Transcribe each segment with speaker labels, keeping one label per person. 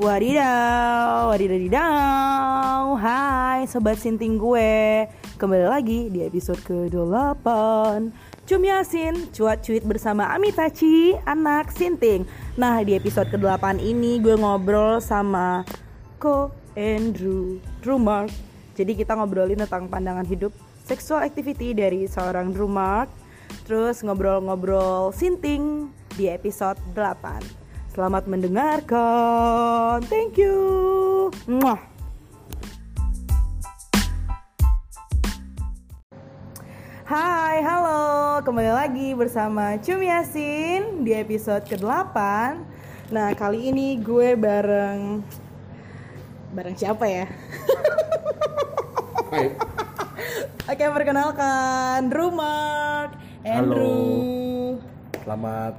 Speaker 1: Wadidaw, wadidadidaw Hai Sobat Sinting gue Kembali lagi di episode ke-8 Cum Yasin, cuat cuit bersama Amitachi, anak Sinting Nah di episode ke-8 ini gue ngobrol sama Ko Andrew Drumark Jadi kita ngobrolin tentang pandangan hidup seksual activity dari seorang Drumark Terus ngobrol-ngobrol Sinting di episode 8 Selamat mendengarkan. Thank you. Mwah. Hai, halo. Kembali lagi bersama Cum Yasin di episode ke-8. Nah, kali ini gue bareng bareng siapa ya?
Speaker 2: Hai.
Speaker 1: Oke, perkenalkan Rumark Andrew.
Speaker 2: Selamat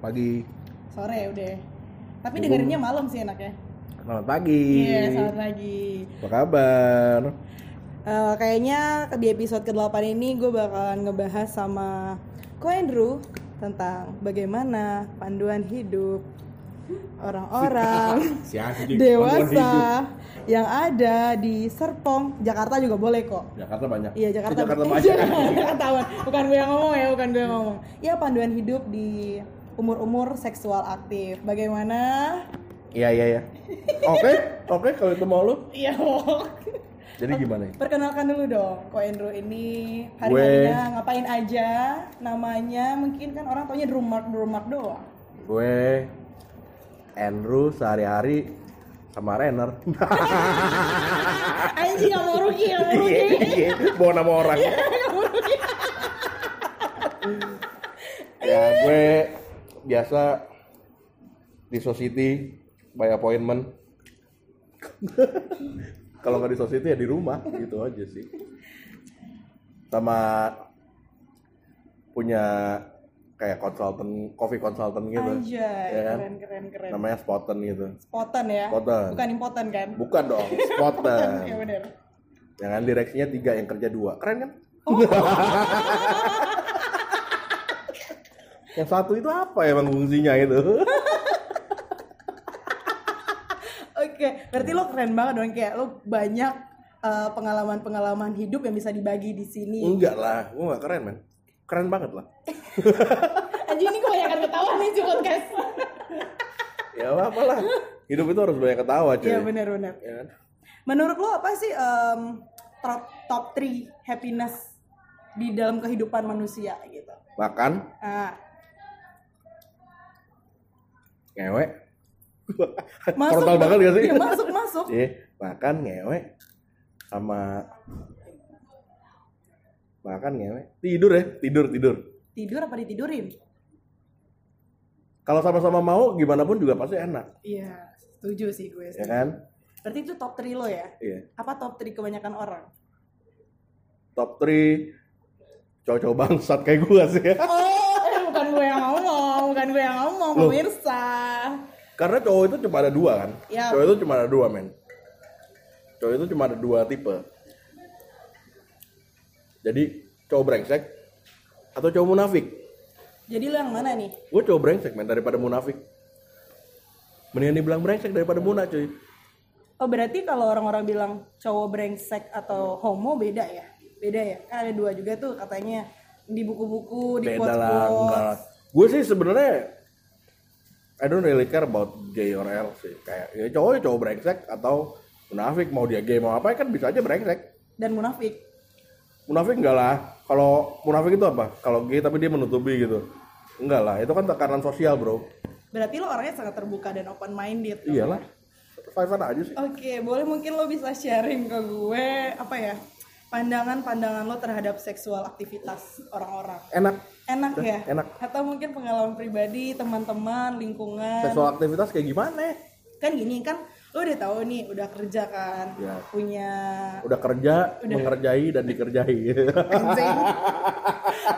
Speaker 2: pagi.
Speaker 1: Sore ya udah. Tapi dengerinnya malam sih enaknya.
Speaker 2: Selamat pagi.
Speaker 1: Iya, selamat pagi.
Speaker 2: Apa kabar?
Speaker 1: Eh, kayaknya di episode ke-8 ini gue bakalan ngebahas sama Ko Andrew tentang bagaimana panduan hidup orang-orang
Speaker 2: Si anjing. Bantuan hidup.
Speaker 1: dewasa yang ada di Serpong, Jakarta juga boleh kok.
Speaker 2: Jakarta banyak.
Speaker 1: Iya Jakarta.
Speaker 2: Eh, Jakarta
Speaker 1: Eh,
Speaker 2: banyak.
Speaker 1: Jakartawan. Bukan gue yang ngomong ya, bukan gue yang ngomong. Ya panduan hidup di umur-umur seksual aktif. Bagaimana?
Speaker 2: Iya, iya, iya. Oke, oke kalau itu mau lu.
Speaker 1: Iya.
Speaker 2: Jadi gimana ya?
Speaker 1: Perkenalkan dulu dong, Ko Endro ini hari-harinya ngapain aja, namanya mungkin kan orang taunya drumark drumark doang.
Speaker 2: Gue Andrew sehari-hari sama Renner.
Speaker 1: Anjing nggak mau rugi, nggak mau rugi.
Speaker 2: Iya, iya. Bawa nama orang. ya, gue biasa di society by appointment. Kalau nggak di society ya di rumah gitu aja sih. Sama punya kayak konsultan, coffee konsultan
Speaker 1: Iya,
Speaker 2: gitu.
Speaker 1: Anjay,
Speaker 2: Ya kan?
Speaker 1: keren keren keren.
Speaker 2: Namanya spotten gitu.
Speaker 1: Spotan ya,
Speaker 2: Spotan.
Speaker 1: bukan impotan kan?
Speaker 2: Bukan dong,
Speaker 1: Iya
Speaker 2: spotten.
Speaker 1: bener.
Speaker 2: Jangan direksinya tiga, yang kerja dua. Keren kan? yang satu itu apa emang fungsinya gitu? itu?
Speaker 1: Oke, berarti lo keren banget dong kayak lo banyak eh, pengalaman-pengalaman hidup yang bisa dibagi di sini.
Speaker 2: Enggak lah, gue gak keren men. Keren banget lah.
Speaker 1: Anjing ini kebanyakan ketawa nih si podcast.
Speaker 2: Ya apa lah. Hidup itu harus banyak ketawa cuy.
Speaker 1: Iya bener bener.
Speaker 2: Ya kan?
Speaker 1: Menurut lo apa sih em, top top 3 happiness di dalam kehidupan manusia gitu?
Speaker 2: Makan,
Speaker 1: Ah,
Speaker 2: ngewek. Frontal banget gak sih?
Speaker 1: Iya, masuk masuk.
Speaker 2: Iya, makan, ngewek. Sama makan ngewek. Tidur ya, tidur, tidur.
Speaker 1: Tidur apa ditidurin?
Speaker 2: Kalau sama-sama mau gimana pun juga pasti enak,
Speaker 1: Iya, setuju sih gue.
Speaker 2: ya kan?
Speaker 1: Berarti itu top 3 lo ya?
Speaker 2: Iya.
Speaker 1: Apa top 3 kebanyakan orang?
Speaker 2: top 3 cowok-cowok bangsat kayak gua sih ya.
Speaker 1: Oh, eh, bukan gue yang ngomong, bukan gue yang ngomong,
Speaker 2: Loh.
Speaker 1: pemirsa.
Speaker 2: Karena cowok itu cuma ada dua kan.
Speaker 1: Ya.
Speaker 2: Cowok itu cuma ada dua men. Cowok itu cuma ada dua tipe. Jadi cowok brengsek atau cowok munafik.
Speaker 1: Jadi lo yang mana nih?
Speaker 2: Gue cowok brengsek men daripada munafik. Mendingan dibilang brengsek daripada munafik cuy.
Speaker 1: Oh, berarti kalau orang-orang bilang cowok brengsek atau homo beda ya? Beda ya? Kan ada dua juga tuh katanya di buku-buku, di
Speaker 2: Beda lah, enggak lah. Gue sih sebenarnya I don't really care about gay or L sih. Kayak ya cowok ya cowok brengsek atau munafik mau dia gay mau apa kan bisa aja brengsek.
Speaker 1: dan munafik.
Speaker 2: Munafik enggak lah. Kalau munafik itu apa? Kalau gay tapi dia menutupi gitu. Enggak lah, itu kan tekanan sosial, Bro.
Speaker 1: Berarti lo orangnya sangat terbuka dan open minded.
Speaker 2: Iyalah. Five aja sih.
Speaker 1: Oke, boleh mungkin lo bisa sharing ke gue apa ya? Pandangan-pandangan lo terhadap seksual aktivitas orang-orang.
Speaker 2: Enak.
Speaker 1: Enak ya?
Speaker 2: Enak.
Speaker 1: Atau mungkin pengalaman pribadi, teman-teman, lingkungan.
Speaker 2: Seksual aktivitas kayak gimana?
Speaker 1: Kan gini kan lo udah tahu nih udah kerja kan,
Speaker 2: Iya.
Speaker 1: punya
Speaker 2: Udah kerja, mengerjai dan dikerjai.
Speaker 1: anjing.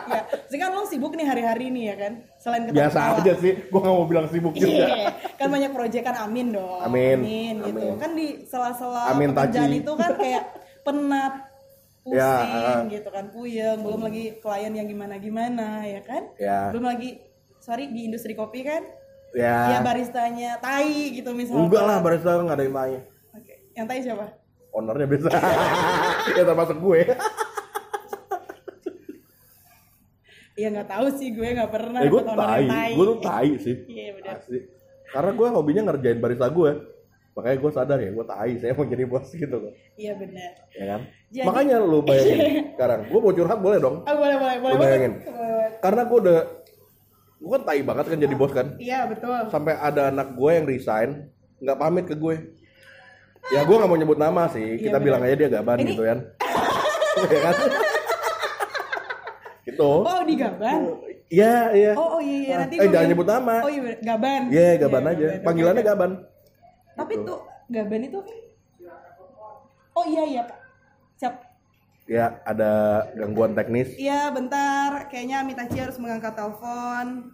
Speaker 1: ya, sih kan lo sibuk nih hari-hari nih ya kan. Selain ketemu
Speaker 2: Biasa
Speaker 1: orang.
Speaker 2: aja sih. Gua nggak mau bilang sibuk juga.
Speaker 1: Iya, kan banyak proyek kan amin dong.
Speaker 2: Amin.
Speaker 1: gitu.
Speaker 2: Amin.
Speaker 1: Kan di sela-sela
Speaker 2: Amin,
Speaker 1: pekerjaan
Speaker 2: Taji.
Speaker 1: itu kan kayak penat, pusing
Speaker 2: Ya, ah.
Speaker 1: gitu kan, puyeng, belum lagi klien yang gimana-gimana ya kan?
Speaker 2: Ya.
Speaker 1: Belum lagi sorry di industri kopi kan?
Speaker 2: ya,
Speaker 1: Ya baristanya tai gitu misalnya.
Speaker 2: enggak lah barista nggak ada yang tanya
Speaker 1: Oke. Yang tai siapa?
Speaker 2: ownernya biasa ya termasuk gue
Speaker 1: Ya nggak tahu sih gue nggak pernah.
Speaker 2: eh gue
Speaker 1: dapet honor
Speaker 2: tai
Speaker 1: yang
Speaker 2: gue tuh tai sih
Speaker 1: Iya benar.
Speaker 2: Asli. karena gue hobinya ngerjain barista gue makanya gue sadar ya gue tai saya mau jadi bos gitu loh
Speaker 1: Iya benar.
Speaker 2: ya kan
Speaker 1: Jadi-
Speaker 2: makanya lu bayangin sekarang gue mau curhat boleh dong
Speaker 1: Ah boleh boleh boleh.
Speaker 2: Lu bayangin.
Speaker 1: boleh, boleh.
Speaker 2: karena gue udah gue kan tai banget kan jadi bos kan
Speaker 1: Iya betul.
Speaker 2: sampai ada anak gue yang resign nggak pamit ke gue ya gue nggak mau nyebut nama sih
Speaker 1: Iya,
Speaker 2: kita bilang aja dia gaban gitu kan ya kan gitu
Speaker 1: Oh di Gaban.
Speaker 2: ya iya
Speaker 1: Oh oh iya iya nanti.
Speaker 2: eh
Speaker 1: gue
Speaker 2: jangan
Speaker 1: bilang-
Speaker 2: nyebut nama
Speaker 1: Oh iya benar. Gaban.
Speaker 2: Iya, gaban
Speaker 1: Iya,
Speaker 2: aja.
Speaker 1: Gaban.
Speaker 2: Panggilannya gitu. gaban.
Speaker 1: Tapi tuh Gaban itu. Oh iya iya Pak. Siap.
Speaker 2: Ya, ada gangguan teknis.
Speaker 1: Iya bentar. Kayaknya Amitachi harus mengangkat telepon.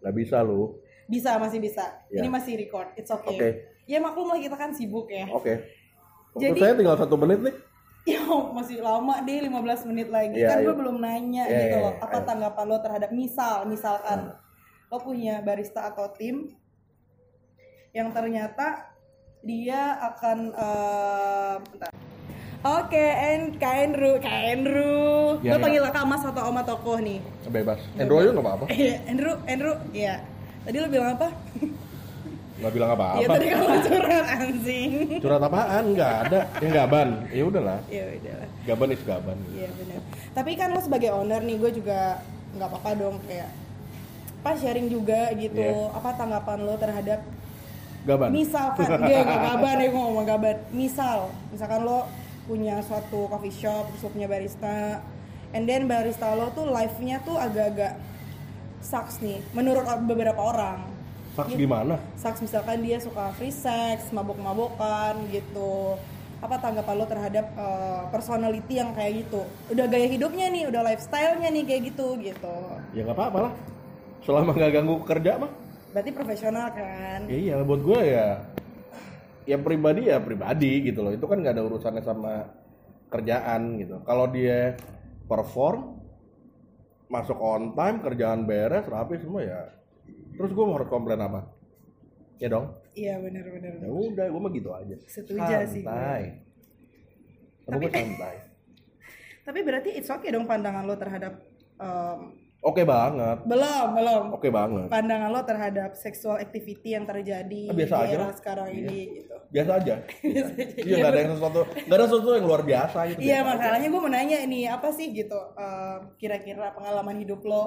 Speaker 2: Nggak bisa lu.
Speaker 1: Bisa masih bisa.
Speaker 2: Iya.
Speaker 1: Ini masih record. It's okay.
Speaker 2: Oke. Oh,
Speaker 1: Ya maklum lah kita kan sibuk ya.
Speaker 2: Oke.
Speaker 1: Jadi-
Speaker 2: Waktu saya tinggal satu menit nih.
Speaker 1: Ya masih lama deh 15 menit lagi
Speaker 2: Iya,
Speaker 1: kan gue
Speaker 2: iya.
Speaker 1: belum nanya
Speaker 2: Iya,
Speaker 1: gitu
Speaker 2: iya, Hmm.
Speaker 1: loh apa
Speaker 2: iya.
Speaker 1: tanggapan lo terhadap misal misalkan lo punya barista atau tim yang ternyata dia akan eh, bentar. Oke, and Kak Andrew, Kak Andrew.
Speaker 2: Iya,
Speaker 1: Gue
Speaker 2: iya.
Speaker 1: panggil Kak Mas atau Oma Tokoh nih.
Speaker 2: Bebas. Android juga nggak apa-apa.
Speaker 1: Eh, Andrew, Andrew, iya. Tadi lo bilang apa?
Speaker 2: Nggak bilang
Speaker 1: Iya,
Speaker 2: apa-apa.
Speaker 1: tadi kamu curhat anjing.
Speaker 2: Curhat apaan? Nggak ada. Yang gaban. Ya udahlah.
Speaker 1: Ya udah.
Speaker 2: Gaban is gaban.
Speaker 1: Iya benar. Tapi kan lo sebagai owner nih, gue juga nggak apa-apa dong kayak apa sharing juga gitu.
Speaker 2: Iya.
Speaker 1: Apa tanggapan lo terhadap
Speaker 2: Gaban.
Speaker 1: misalkan dia nggak gaban ya gue ngomong gaban. Misal, misalkan lo punya suatu coffee shop, terus lo punya barista, and then barista lo tuh life-nya tuh agak-agak sucks nih, menurut beberapa orang.
Speaker 2: Saks gimana?
Speaker 1: Sucks misalkan dia suka free sex, mabok-mabokan gitu. Apa tanggapan lo terhadap eh, personality yang kayak gitu? Udah gaya hidupnya nih, udah lifestyle-nya nih kayak gitu gitu.
Speaker 2: Ya nggak apa-apa lah. Selama nggak ganggu kerja mah.
Speaker 1: Berarti profesional kan?
Speaker 2: Ya iya, buat gue ya ya pribadi ya pribadi gitu loh. Itu kan nggak ada urusannya sama kerjaan gitu. Kalau dia perform masuk on time, kerjaan beres, rapi semua ya. Terus gue mau harus komplain apa? Ya dong.
Speaker 1: Iya bener-bener.
Speaker 2: Ya udah, gue mah gitu aja.
Speaker 1: Setuju sih gue.
Speaker 2: Santai. Tapi gue santai.
Speaker 1: Tapi berarti it's okay dong pandangan lo terhadap em,
Speaker 2: Oke banget.
Speaker 1: belum belum
Speaker 2: Oke banget.
Speaker 1: pandangan lo terhadap sexual activity yang terjadi
Speaker 2: Ah, biasa
Speaker 1: di
Speaker 2: aja
Speaker 1: era
Speaker 2: lah. Iya.
Speaker 1: sekarang ini gitu.
Speaker 2: Biasa aja. Iya, nggak ada yang sesuatu, nggak ada sesuatu yang luar biasa gitu.
Speaker 1: Iya masalahnya gue mau nanya nih apa sih gitu eh, kira-kira pengalaman hidup lo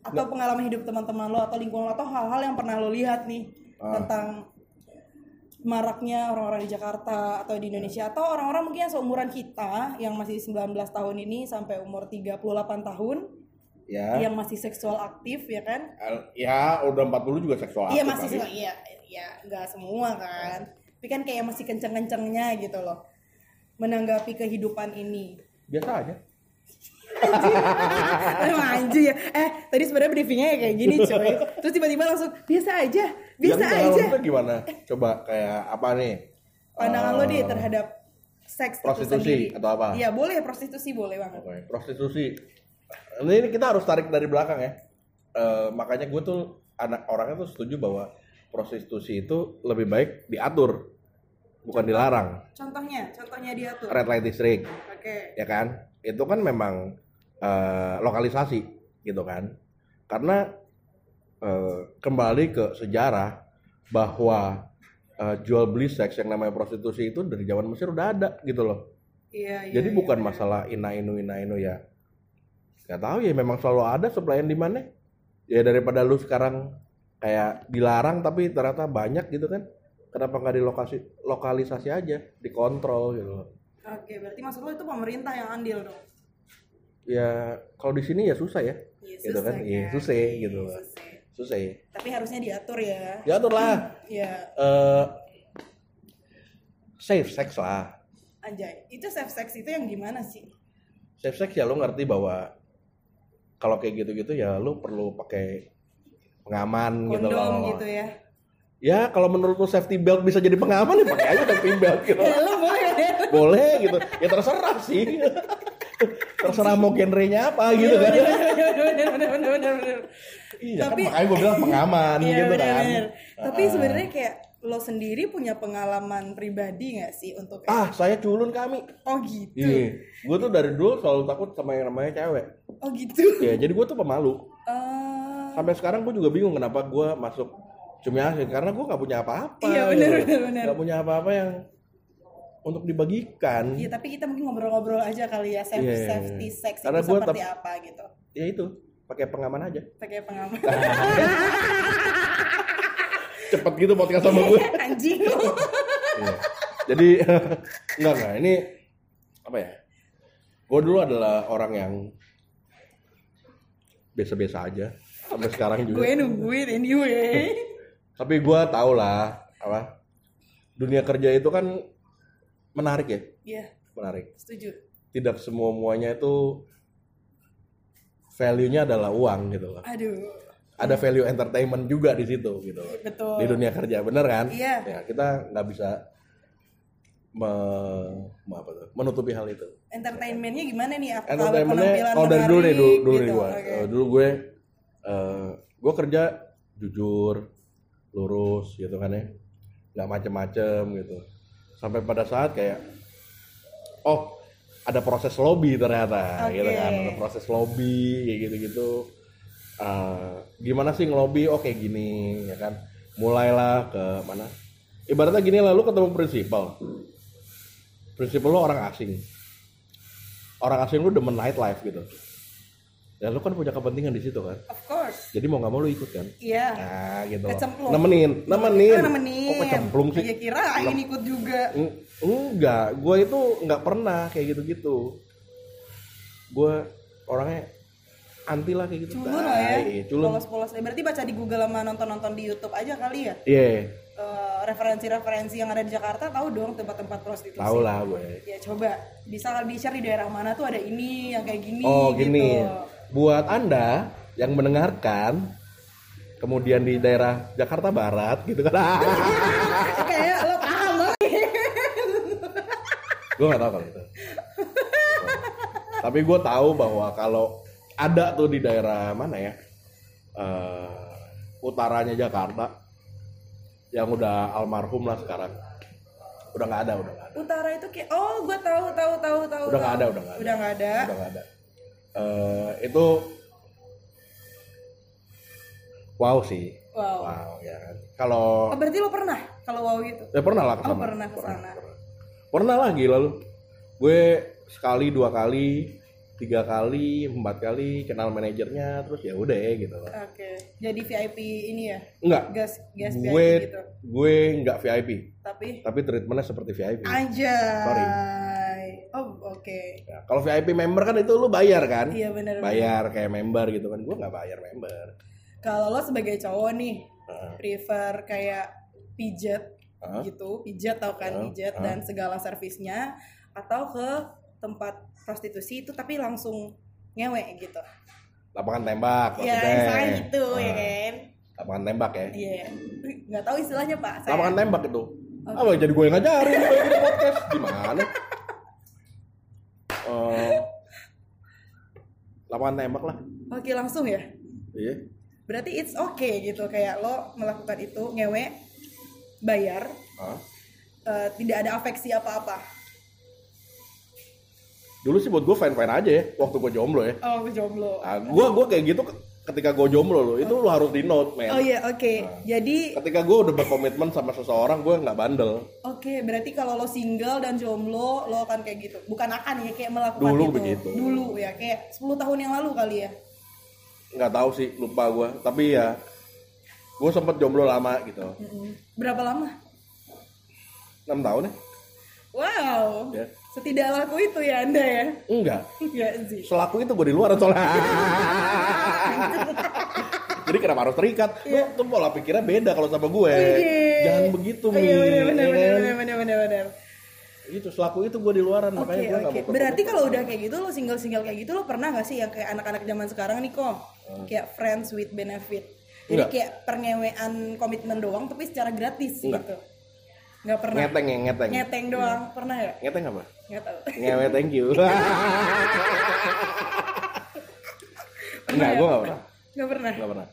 Speaker 1: atau pengalaman hidup teman-teman lo atau lingkungan lo atau hal-hal yang pernah lo lihat nih
Speaker 2: Ah.
Speaker 1: tentang maraknya orang-orang di Jakarta atau di Indonesia atau orang-orang mungkin yang seumuran kita yang masih 19 tahun ini sampai umur 38 tahun
Speaker 2: Ya.
Speaker 1: yang masih seksual aktif ya kan?
Speaker 2: Al- Ya, udah 40 juga seksual.
Speaker 1: Iya
Speaker 2: aktif
Speaker 1: masih
Speaker 2: kali.
Speaker 1: seksual, iya iya nggak semua kan. Tapi kan kayak masih kenceng-kencengnya gitu loh. Menanggapi kehidupan ini.
Speaker 2: Biasa aja.
Speaker 1: Emang anjing ya. Eh, tadi sebenarnya briefingnya ya kayak gini, coy. Terus tiba-tiba langsung biasa aja, biasa
Speaker 2: Yang pengalaman
Speaker 1: aja.
Speaker 2: lu gimana? Coba kayak apa nih?
Speaker 1: Pandangan lo
Speaker 2: Eh,
Speaker 1: deh terhadap seks itu
Speaker 2: prostitusi Ah.
Speaker 1: sendiri.
Speaker 2: atau apa?
Speaker 1: Iya, boleh prostitusi boleh banget.
Speaker 2: Oke, prostitusi. Ini kita harus tarik dari belakang ya. Eh, makanya gue tuh anak orangnya tuh setuju bahwa prostitusi itu lebih baik diatur, bukan dilarang.
Speaker 1: Contohnya, contohnya dia tuh. Oke.
Speaker 2: Red light district, ya kan? Itu kan memang eh, lokalisasi gitu kan. Karena eh, kembali ke sejarah bahwa eh, jual beli seks yang namanya prostitusi itu dari zaman Mesir udah ada gitu loh.
Speaker 1: Iya, iya.
Speaker 2: Jadi
Speaker 1: iya,
Speaker 2: bukan
Speaker 1: iya.
Speaker 2: masalah ina inu ina inu ya. Gak tahu ya memang selalu ada supply and demand-nya. Ya daripada lu sekarang kayak dilarang tapi ternyata banyak gitu kan. Kenapa nggak di lokasi lokalisasi aja, dikontrol gitu loh.
Speaker 1: Oke, berarti maksud lo itu pemerintah yang andil dong.
Speaker 2: Ya kalau di sini ya susah ya.
Speaker 1: Iya,
Speaker 2: Gitu kan? Iya, susah gitu loh.
Speaker 1: Susah.
Speaker 2: Susah ya.
Speaker 1: Tapi harusnya diatur ya.
Speaker 2: Diaturlah
Speaker 1: Iya,
Speaker 2: eh safe sex lah.
Speaker 1: anjay. Itu safe sex itu yang gimana sih?
Speaker 2: safe sex ya lu ngerti bahwa kalau kayak gitu-gitu ya lu perlu pakai pengaman gitu loh.
Speaker 1: Kondom gitu ya.
Speaker 2: Ya kalau menurut lu safety belt bisa jadi pengaman ya pakai aja safety belt gitu.
Speaker 1: Eh, lo boleh ya?
Speaker 2: Boleh gitu. Ya terserah sih. terserah mau genrenya apa gitu kan.
Speaker 1: Iya, bener bener bener bener bener bener bener.
Speaker 2: Iya
Speaker 1: Tapi-
Speaker 2: kan makanya gue bilang pengaman
Speaker 1: Iya,
Speaker 2: gitu kan.
Speaker 1: benar-benar. Tapi
Speaker 2: Heeh.
Speaker 1: sebenarnya kayak lo sendiri punya pengalaman pribadi nggak sih untuk kayak,
Speaker 2: ah saya culun kami.
Speaker 1: oh gitu,
Speaker 2: Iya. Gue tuh dari dulu selalu takut sama yang namanya cewek.
Speaker 1: oh gitu.
Speaker 2: Ya jadi gue tuh pemalu.
Speaker 1: Ah,
Speaker 2: Sampai sekarang gue juga bingung kenapa gue masuk Cumiasin karena gue nggak punya apa-apa.
Speaker 1: Iya,
Speaker 2: gitu.
Speaker 1: benar, benar, benar.
Speaker 2: Nggak punya apa-apa yang untuk dibagikan.
Speaker 1: Iya, tapi kita mungkin ngobrol-ngobrol aja kali ya safety,
Speaker 2: Iya, iya, iya.
Speaker 1: safety sex itu
Speaker 2: Karena gua
Speaker 1: seperti
Speaker 2: tep-
Speaker 1: apa gitu.
Speaker 2: Ya itu pakai pengaman aja.
Speaker 1: Pakai pengaman.
Speaker 2: Cepet gitu podcast sama gue.
Speaker 1: Anjing.
Speaker 2: Iya. Jadi enggak enggak ini apa ya? Gue dulu adalah orang yang biasa-biasa aja sampai sekarang juga.
Speaker 1: gue nungguin anyway.
Speaker 2: Tapi gue tau lah apa dunia kerja itu kan menarik ya,
Speaker 1: Iya,
Speaker 2: menarik.
Speaker 1: setuju.
Speaker 2: Tidak semua muanya itu value-nya adalah uang gitu loh.
Speaker 1: Aduh,
Speaker 2: Ada value entertainment juga di situ gitu loh.
Speaker 1: betul.
Speaker 2: di dunia kerja bener kan
Speaker 1: Iya.
Speaker 2: ya kita nggak bisa me, me- apa tuh, menutupi hal itu
Speaker 1: Entertainmentnya gimana nih? Apa kalau
Speaker 2: entertainmentnya
Speaker 1: penampilan
Speaker 2: kalau dari dulu nih dulu,
Speaker 1: menarik
Speaker 2: dulu
Speaker 1: gitu,
Speaker 2: nih gua.
Speaker 1: oke.
Speaker 2: Eh, dulu gue eh, gue kerja jujur lurus gitu kan ya nggak macem-macem gitu sampai pada saat kayak oh ada proses lobby ternyata
Speaker 1: Oke.
Speaker 2: gitu kan ada proses lobby kayak gitu-gitu Eh, gimana sih ngelobi oke gini ya kan mulailah ke mana ibaratnya gini lah lu ketemu prinsipal prinsipal lu orang asing orang asing lu demen nightlife gitu ya lu kan punya kepentingan di situ kan
Speaker 1: Of course.
Speaker 2: jadi mau nggak mau lu ikut kan
Speaker 1: Iya.
Speaker 2: nah gitu
Speaker 1: Kecemplung.
Speaker 2: nemenin nemenin
Speaker 1: Oh, nemenin.
Speaker 2: kok kecemplung sih
Speaker 1: Ya kira Ain ikut juga.
Speaker 2: Eng- enggak gue itu nggak pernah kayak gitu gitu gue orangnya anti lah kayak gitu
Speaker 1: Culun lah ya.
Speaker 2: Tai, culun
Speaker 1: Polos-polos. Eh, Berarti baca di Google sama nonton-nonton di YouTube aja kali ya.
Speaker 2: iya
Speaker 1: Eh, referensi-referensi yang ada di Jakarta tahu dong tempat-tempat prostitusi.
Speaker 2: tau lah gue
Speaker 1: Ya coba bisa di share di daerah mana tuh ada ini yang kayak gini
Speaker 2: oh
Speaker 1: gitu.
Speaker 2: gini buat anda yang mendengarkan kemudian di daerah Jakarta Barat gitu kan
Speaker 1: Eh, kayak lo paham lo.
Speaker 2: gue gak tahu kalau itu tapi gue tahu bahwa kalau ada tuh di daerah mana ya eh, utaranya Jakarta yang udah almarhum lah sekarang udah nggak ada udah nggak ada
Speaker 1: Utara itu kayak oh gue tahu tahu tahu tahu.
Speaker 2: Udah nggak
Speaker 1: tahu.
Speaker 2: ada, udah nggak ada.
Speaker 1: Udah nggak ada.
Speaker 2: udah nggak ada Eh, itu wow sih
Speaker 1: Wow.
Speaker 2: wow ya kan kalau
Speaker 1: Oh, berarti lo pernah kalau wow gitu.
Speaker 2: ya pernah lah kesana
Speaker 1: Oh, pernah kesana.
Speaker 2: pernah, pernah lah gila lu gue sekali dua kali tiga kali empat kali kenal manajernya terus ya udah gitu lah
Speaker 1: Oke. Jadi VIP ini ya.
Speaker 2: enggak
Speaker 1: Gas gas
Speaker 2: gue
Speaker 1: VIP gitu.
Speaker 2: gue enggak VIP
Speaker 1: Tapi
Speaker 2: tapi treatmentnya seperti VIP
Speaker 1: aja.
Speaker 2: Iya. Sorry.
Speaker 1: Oh, oke.
Speaker 2: Ya, kalau VIP member kan itu lu bayar kan
Speaker 1: Iya benar.
Speaker 2: bayar kayak member gitu kan gue nggak bayar member
Speaker 1: Kalau lo sebagai cowok nih
Speaker 2: Heeh.
Speaker 1: prefer kayak pijat
Speaker 2: Heeh.
Speaker 1: gitu, pijat tau kan
Speaker 2: Heeh,
Speaker 1: pijat
Speaker 2: heeh.
Speaker 1: dan segala servisnya atau ke tempat prostitusi itu tapi langsung ngewe gitu.
Speaker 2: lapangan
Speaker 1: Iya,
Speaker 2: tembak maksudnya.
Speaker 1: misalnya gitu ya
Speaker 2: Ah,
Speaker 1: kan.
Speaker 2: lapangan tembak ya
Speaker 1: Iya. Nggak tahu istilahnya, Pak. Saya.
Speaker 2: lapangan tembak itu apa jadi gue yang ngajarin gue yang bikin podcast gimana Eh, lapangan tembak lah
Speaker 1: Oke, langsung ya.
Speaker 2: iya
Speaker 1: Berarti it's okay gitu kayak lo melakukan itu ngewe bayar
Speaker 2: Ah.
Speaker 1: eh, tidak ada afeksi apa-apa.
Speaker 2: dulu sih buat gue fine fine aja ya waktu gue jomblo ya
Speaker 1: Oh, aku jomblo.
Speaker 2: nah, gue gue kayak gitu ke- ketika gue jomblo loh itu lo harus di note
Speaker 1: Oh
Speaker 2: man
Speaker 1: iya, oke. Jadi
Speaker 2: ketika gue udah berkomitmen sama seseorang gue nggak bandel
Speaker 1: Oke, berarti kalau lo single dan jomblo, lo akan kayak gitu. Bukan akan ya, kayak melakukan
Speaker 2: Dulu
Speaker 1: itu.
Speaker 2: begitu.
Speaker 1: Dulu ya, kayak 10 tahun yang lalu kali ya.
Speaker 2: nggak tahu sih lupa gue tapi ya gue sempet jomblo lama gitu
Speaker 1: Mm-mm. Berapa lama?
Speaker 2: enam tahun ya
Speaker 1: Wow.
Speaker 2: Ya.
Speaker 1: Setidak laku itu ya Anda ya.
Speaker 2: enggak
Speaker 1: Enggak sih.
Speaker 2: selaku itu gue di luar soalnya jadi kenapa harus terikat Lu tuh pola pikirnya beda kalau sama gue
Speaker 1: Oke.
Speaker 2: Eh, jangan begitu Ya kan?
Speaker 1: Oh, Iya. Iya, benar benar
Speaker 2: Min.
Speaker 1: benar benar benar benar, benar.
Speaker 2: itu selaku itu gue di luaran
Speaker 1: Oke,
Speaker 2: makanya gue
Speaker 1: oke.
Speaker 2: nggak mau
Speaker 1: Berarti kalau udah kayak gitu lo single-single kayak gitu lo pernah gak sih yang kayak anak-anak zaman sekarang nih kok? Kayak friends with benefit. Jadi
Speaker 2: Hmm. Enggak.
Speaker 1: kayak pernyewean komitmen doang tapi secara gratis
Speaker 2: Enggak.
Speaker 1: gitu. Enggak pernah.
Speaker 2: ngeteng ya ngeteng
Speaker 1: Ngeteng doang, pernah ya?
Speaker 2: ngeteng apa
Speaker 1: Nggak tahu.
Speaker 2: ngewe thank you enggak gue nggak pernah
Speaker 1: Nggak pernah.
Speaker 2: nggak pernah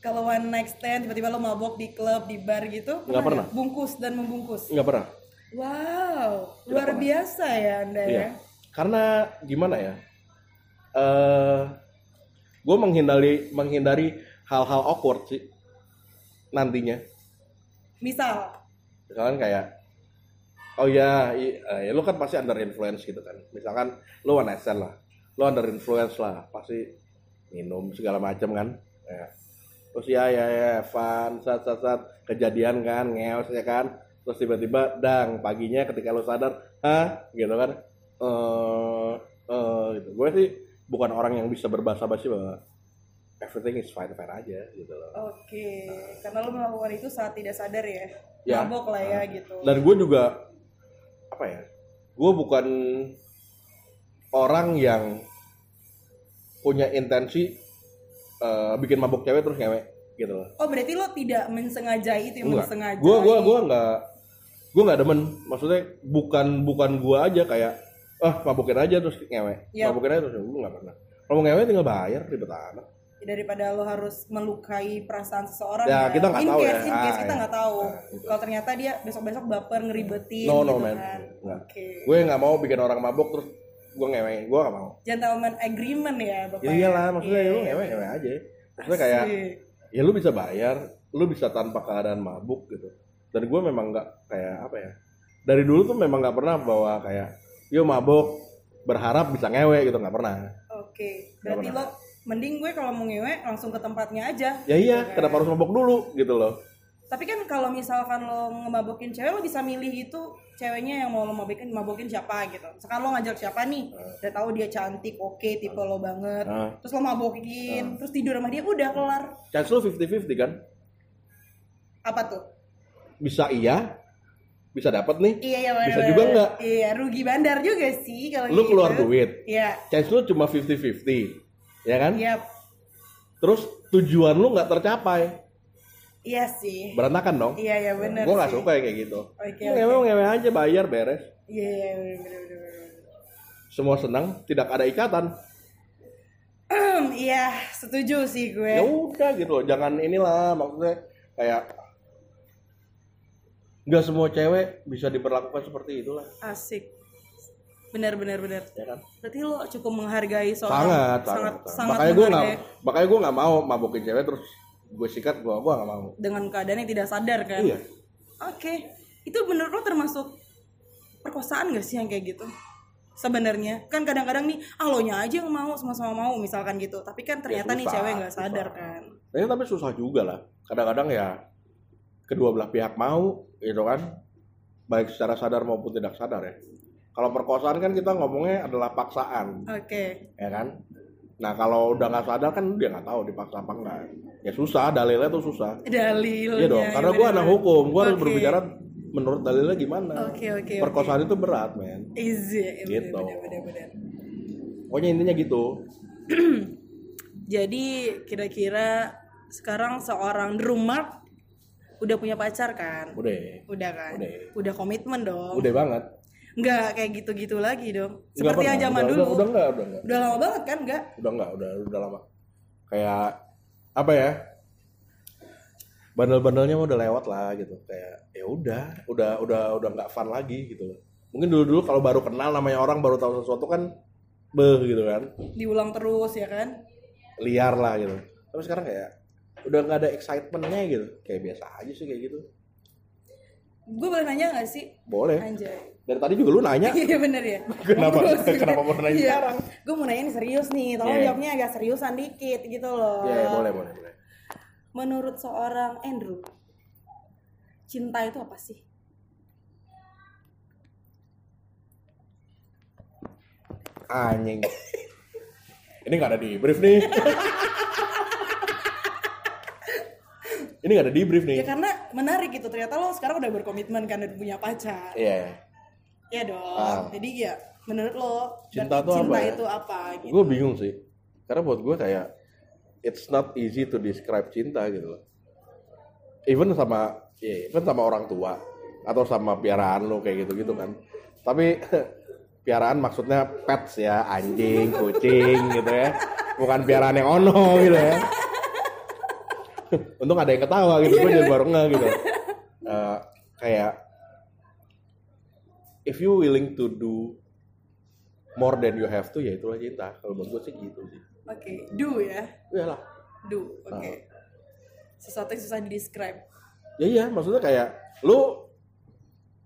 Speaker 1: kalau one night stand tiba-tiba lo mabok di klub di bar gitu
Speaker 2: Nggak pernah. Iya.
Speaker 1: bungkus dan membungkus
Speaker 2: nggak pernah
Speaker 1: wow luar biasa ya anda
Speaker 2: Iya.
Speaker 1: ya
Speaker 2: Karena gimana ya? Eh gue menghindari menghindari hal-hal awkward sih nantinya.
Speaker 1: misal
Speaker 2: Misalkan kayak oh ya, i- eh, ya lu kan pasti under influence gitu kan. Misalkan lu one night stand lah. Lu under influence lah, pasti minum segala macam kan. Ya. Terus ya ya ya fun saat saat, saat kejadian kan ngeos ya kan. Terus tiba-tiba dang paginya ketika lu sadar, hah gitu kan eh eh, gitu. Gue sih bukan orang yang bisa berbahasa basi bahwa everything is fine fine aja gitu loh.
Speaker 1: oke karena lo melakukan itu saat tidak sadar ya,
Speaker 2: Ya.
Speaker 1: mabok lah ya gitu
Speaker 2: Dan gue juga apa ya? Gue bukan orang yang punya intensi eh, bikin mabuk cewek terus ngewek gitu loh.
Speaker 1: oh berarti lo tidak mensengajai itu ya, yang
Speaker 2: Enggak.
Speaker 1: mensengajai
Speaker 2: Gue gua gua nggak gue nggak demen. Maksudnya bukan bukan gue aja kayak ah mabukin aja terus ngewek.
Speaker 1: Iya.
Speaker 2: Mabukin aja terus gue nggak pernah. Kalau mau ngewek tinggal bayar ribet amat.
Speaker 1: daripada lo harus melukai perasaan seseorang kan?
Speaker 2: Ya, kita nggak
Speaker 1: in
Speaker 2: tahu ya.
Speaker 1: case, in case
Speaker 2: Ah,
Speaker 1: kita
Speaker 2: ya.
Speaker 1: nggak tahu
Speaker 2: Nah, gitu.
Speaker 1: kalau ternyata dia besok-besok baper ngeribetin
Speaker 2: No,
Speaker 1: Oh, gitu
Speaker 2: no, man.
Speaker 1: kan
Speaker 2: Nggak.
Speaker 1: oke
Speaker 2: gue nggak mau bikin orang mabuk terus gue ngewek gue nggak mau
Speaker 1: gentleman agreement ya Iya. bapak
Speaker 2: ya iyalah maksudnya ya lu ngewek ngewek aja maksudnya kayak ya lu bisa bayar lu bisa tanpa keadaan mabuk gitu dan gue memang nggak kayak apa ya dari dulu tuh memang nggak pernah bahwa kayak yo mabuk berharap bisa ngewek gitu nggak pernah
Speaker 1: oke berarti lo
Speaker 2: pernah.
Speaker 1: mending gue kalau mau ngewek langsung ke tempatnya aja
Speaker 2: ya iya kenapa harus mabuk dulu gitu loh
Speaker 1: tapi kan kalau misalkan lo ngemabokin cewek lo bisa milih itu ceweknya yang mau lo mabokin mabokin siapa gitu sekarang lo ngajak siapa nih
Speaker 2: Hmm.
Speaker 1: udah tahu dia cantik oke tipe lo banget
Speaker 2: nah,
Speaker 1: terus lo mabokin terus tidur sama dia udah kelar
Speaker 2: chance lu 50-50 kan
Speaker 1: apa tuh
Speaker 2: bisa iya bisa dapat nih
Speaker 1: Iya, iya
Speaker 2: Bisa
Speaker 1: benar,
Speaker 2: juga
Speaker 1: benar.
Speaker 2: nggak?
Speaker 1: Iya, rugi bandar juga sih kalau
Speaker 2: lu
Speaker 1: gitu.
Speaker 2: keluar duit
Speaker 1: Iya.
Speaker 2: chance lu cuma 50-50 ya kan
Speaker 1: Iya.
Speaker 2: terus tujuan lu nggak tercapai
Speaker 1: Iya sih.
Speaker 2: berantakan dong
Speaker 1: Iya, iya benar.
Speaker 2: gue nggak
Speaker 1: sih.
Speaker 2: suka yang kayak gitu
Speaker 1: Oke,
Speaker 2: Lu
Speaker 1: oke.
Speaker 2: ngewe ngewe aja bayar beres
Speaker 1: Iya, iya benar, benar, benar, benar.
Speaker 2: semua senang tidak ada ikatan
Speaker 1: Iya, setuju sih gue.
Speaker 2: ya udah gitu loh jangan inilah maksudnya kayak nggak semua cewek bisa diperlakukan seperti itulah
Speaker 1: Asik. Benar, benar, benar.
Speaker 2: ya kan
Speaker 1: Berarti lo cukup menghargai seorang
Speaker 2: sangat sangat,
Speaker 1: sangat,
Speaker 2: sangat.
Speaker 1: sangat ya.
Speaker 2: makanya gue nggak
Speaker 1: menghargai
Speaker 2: makanya gue nggak mau mabokin cewek terus gue sikat gue gue nggak mau
Speaker 1: dengan keadaan yang tidak sadar kan.
Speaker 2: iya
Speaker 1: Oke. Itu menurut lo termasuk perkosaan gak sih yang kayak gitu? Sebenarnya kan kadang-kadang nih ah lo nya aja yang mau sama-sama mau misalkan gitu. Tapi
Speaker 2: Ya,
Speaker 1: kan ternyata nih
Speaker 2: susah,
Speaker 1: cewek nggak
Speaker 2: susah.
Speaker 1: sadar kan.
Speaker 2: Tapi- tapi susah juga lah kadang-kadang ya kedua belah pihak mau gitu kan baik secara sadar maupun tidak sadar ya kalau perkosaan kan kita ngomongnya adalah paksaan
Speaker 1: Oke.
Speaker 2: ya kan nah kalau udah nggak sadar kan dia nggak tahu dipaksa apa enggak ya susah dalilnya tuh susah
Speaker 1: Dalilnya. ya,
Speaker 2: Iya dong karena gue anak hukum gue harus
Speaker 1: Oke.
Speaker 2: berbicara menurut dalilnya gimana
Speaker 1: Oke, oke, oke.
Speaker 2: perkosaan itu berat men
Speaker 1: Easy. Iya,
Speaker 2: Gitu.
Speaker 1: Benar-benar.
Speaker 2: pokoknya intinya gitu
Speaker 1: Jadi kira-kira sekarang seorang Drumark udah punya pacar kan?
Speaker 2: udah
Speaker 1: Udah kan?
Speaker 2: Udah.
Speaker 1: komitmen dong.
Speaker 2: udah banget
Speaker 1: Nggak kayak gitu-gitu lagi dong.
Speaker 2: Nggak
Speaker 1: Seperti
Speaker 2: pernah.
Speaker 1: yang zaman
Speaker 2: udah,
Speaker 1: dulu.
Speaker 2: udah, udah enggak udah enggak
Speaker 1: Udah lama banget kan enggak?
Speaker 2: udah enggak udah udah lama kayak apa ya bandel-bandelnya mah udah lewat lah gitu kayak ya udah udah udah udah nggak fun lagi gitu loh mungkin dulu-dulu kalau baru kenal namanya orang baru tahu sesuatu kan beh gitu kan
Speaker 1: Diulang terus ya kan?
Speaker 2: liar lah gitu tapi sekarang kayak udah nggak ada excitementnya gitu kayak biasa aja sih kayak gitu
Speaker 1: Gue boleh nanya nggak sih?
Speaker 2: boleh
Speaker 1: Anjay.
Speaker 2: dari tadi juga lu nanya
Speaker 1: Iya bener ya.
Speaker 2: Kenapa? Kenapa mau nanya sekarang?
Speaker 1: Gue mau nanya nih serius nih. Tolong
Speaker 2: Iya.
Speaker 1: jawabnya agak seriusan dikit gitu loh.
Speaker 2: ya boleh boleh boleh
Speaker 1: Menurut seorang Andrew, cinta itu apa sih?
Speaker 2: anjing ini nggak ada di brief nih ini nggak ada di brief nih
Speaker 1: Ya karena menarik gitu. Ternyata lo sekarang udah berkomitmen kan udah punya pacar.
Speaker 2: iya
Speaker 1: Iya dong.
Speaker 2: Ah.
Speaker 1: Jadi ya menurut lo
Speaker 2: Cinta
Speaker 1: berarti
Speaker 2: itu apa
Speaker 1: cinta
Speaker 2: ya?
Speaker 1: itu apa gitu.
Speaker 2: gue bingung sih karena buat gue kayak it's not easy to describe cinta gitu loh even sama ya, even sama orang tua atau sama piaraan lo kayak gitu gitu kan tapi piaraan maksudnya pets ya anjing kucing gitu ya bukan piaraan yang ono gitu ya untung ada yang ketawa gitu gue jadi baru nggak gitu Eh, kayak if you willing to do more than you have to ya itulah cinta kalau buat gue sih gitu sih
Speaker 1: Oke, do ya.
Speaker 2: iyalah
Speaker 1: Do. Oke.
Speaker 2: Ah.
Speaker 1: Sesuatu yang susah di-describe.
Speaker 2: ya iya maksudnya kayak lu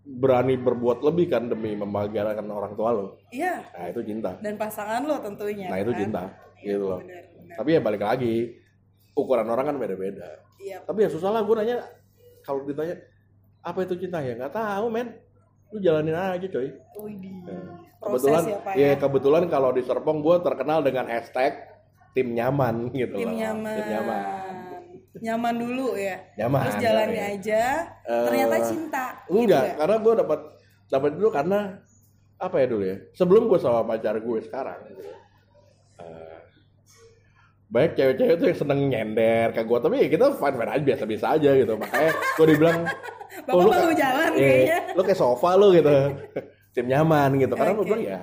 Speaker 2: berani berbuat lebih kan demi membahagiakan orang tua lo
Speaker 1: Iya,
Speaker 2: nah itu cinta
Speaker 1: dan pasangan lo tentunya.
Speaker 2: nah itu
Speaker 1: kan?
Speaker 2: cinta gitu loh
Speaker 1: Benar, benar.
Speaker 2: tapi ya balik lagi ukuran orang kan beda-beda
Speaker 1: Iya.
Speaker 2: tapi ya susah lah gue nanya kalau ditanya apa itu cinta ya nggak tahu men lu jalanin aja coy
Speaker 1: Widi.
Speaker 2: Nah,
Speaker 1: Proses
Speaker 2: kebetulan
Speaker 1: ya, Pak
Speaker 2: ya,
Speaker 1: ya.
Speaker 2: kebetulan kalau di Serpong gue terkenal dengan hashtag tim nyaman gitu
Speaker 1: Tim
Speaker 2: loh
Speaker 1: nyaman.
Speaker 2: tim nyaman
Speaker 1: Nyaman dulu ya.
Speaker 2: Nyaman,
Speaker 1: Terus jalani
Speaker 2: oke.
Speaker 1: aja.
Speaker 2: Eh,
Speaker 1: ternyata cinta. gitu
Speaker 2: enggak
Speaker 1: ya?
Speaker 2: karena gue dapat dapat dulu karena apa ya dulu ya sebelum gue sama pacar gue sekarang gitu, eh, banyak cewek-cewek tuh yang seneng nyender ke gue tapi ya kita fine fine aja biasa biasa aja gitu makanya gue dibilang
Speaker 1: Bapak
Speaker 2: "Oh,
Speaker 1: baru
Speaker 2: kayak-
Speaker 1: jalan
Speaker 2: iya,
Speaker 1: kayaknya."
Speaker 2: lu kayak sofa lu gitu tim nyaman gitu karena gue
Speaker 1: Oke.
Speaker 2: bilang ya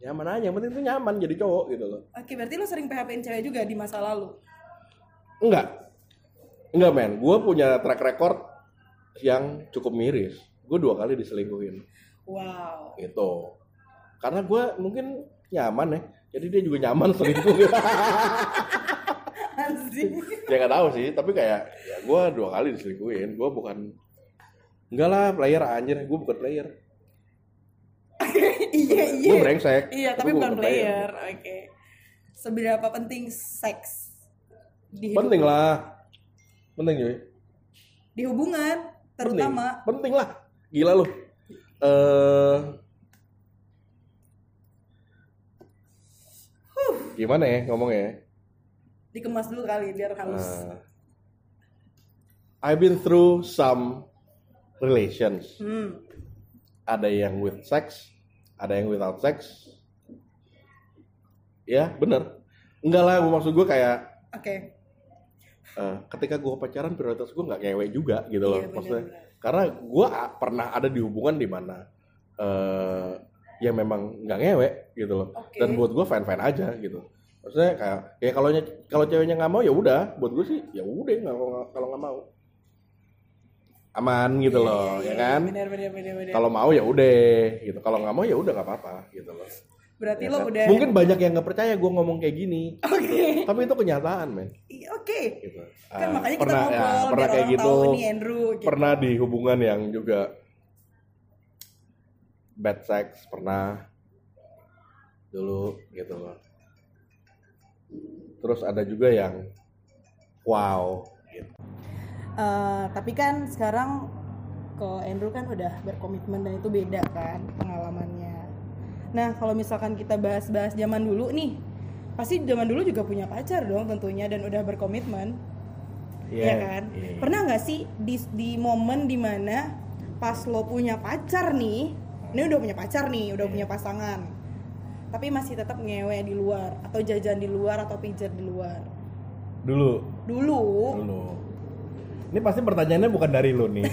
Speaker 2: nyaman aja yang penting tuh nyaman jadi cowok gitu loh
Speaker 1: Oke, berarti lo sering PHP-in cewek juga di masa lalu.
Speaker 2: Enggak. Enggak men, gue punya track record yang cukup miris. Gue dua kali diselingkuhin.
Speaker 1: Wow.
Speaker 2: Gitu. Karena gue mungkin nyaman ya. Jadi dia juga nyaman selingkuh.
Speaker 1: Anjing.
Speaker 2: ya nggak tahu sih, tapi kayak ya gue dua kali diselingkuhin. Gue bukan Enggak lah, player anjir. Gue bukan player.
Speaker 1: iya, iya.
Speaker 2: Gue brengsek.
Speaker 1: Iya, tapi
Speaker 2: gua
Speaker 1: bukan player. Oke. Seberapa penting seks di hidup-
Speaker 2: Penting lah. Penting cuy.
Speaker 1: di hubungan terutama?
Speaker 2: penting, penting lah gila lu eh gimana ya ngomongnya ya?
Speaker 1: Dikemas dulu kali biar halus.
Speaker 2: Eh, I've been through some relations
Speaker 1: Hmm.
Speaker 2: ada yang with sex ada yang without sex ya bener enggak lah maksud gue kayak
Speaker 1: Oke.
Speaker 2: eh, ketika gue pacaran prioritas gue nggak ngewe juga gitu loh
Speaker 1: Iya,
Speaker 2: maksudnya
Speaker 1: benar-benar.
Speaker 2: karena gue a- pernah ada di hubungan di mana eh ya memang nggak ngewe gitu loh
Speaker 1: Oke.
Speaker 2: dan buat gue fan fan aja gitu maksudnya kayak ya kalau nye- kalau ceweknya nggak mau ya udah buat gue sih ya udah nggak kalau nggak- kalau nggak mau aman gitu
Speaker 1: Iya,
Speaker 2: loh
Speaker 1: iya,
Speaker 2: ya
Speaker 1: iya,
Speaker 2: kan
Speaker 1: Benar benar benar benar.
Speaker 2: kalau mau ya udah gitu kalau nggak mau ya udah nggak apa-apa gitu loh
Speaker 1: berarti
Speaker 2: Ya
Speaker 1: lo
Speaker 2: kan?
Speaker 1: udah
Speaker 2: mungkin banyak yang nggak percaya gue ngomong kayak gini
Speaker 1: Oke.
Speaker 2: tapi itu kenyataan men
Speaker 1: Iya, Oke.
Speaker 2: gitu.
Speaker 1: Kan
Speaker 2: Ah,
Speaker 1: makanya
Speaker 2: pernah,
Speaker 1: kita
Speaker 2: ya,
Speaker 1: ngobrol
Speaker 2: pernah
Speaker 1: biar
Speaker 2: kayak
Speaker 1: orang
Speaker 2: gitu
Speaker 1: tahu nih Andrew gitu.
Speaker 2: pernah di hubungan yang juga bad sex pernah dulu gitu loh terus ada juga yang wow gitu.
Speaker 1: Eh, tapi kan sekarang kalau Andrew kan udah berkomitmen dan itu beda kan pengalamannya. Nah kalau misalkan kita bahas-bahas zaman dulu nih, pasti zaman dulu juga punya pacar dong tentunya dan udah berkomitmen, ya kan?
Speaker 2: iya.
Speaker 1: Pernah nggak sih di di momen dimana pas lo punya pacar nih, ini udah punya pacar nih,
Speaker 2: Iya.
Speaker 1: udah punya pasangan, tapi masih tetap ngewe di luar atau jajan di luar atau pijat di luar.
Speaker 2: dulu
Speaker 1: Dulu
Speaker 2: dulu ini pasti pertanyaannya bukan dari lu nih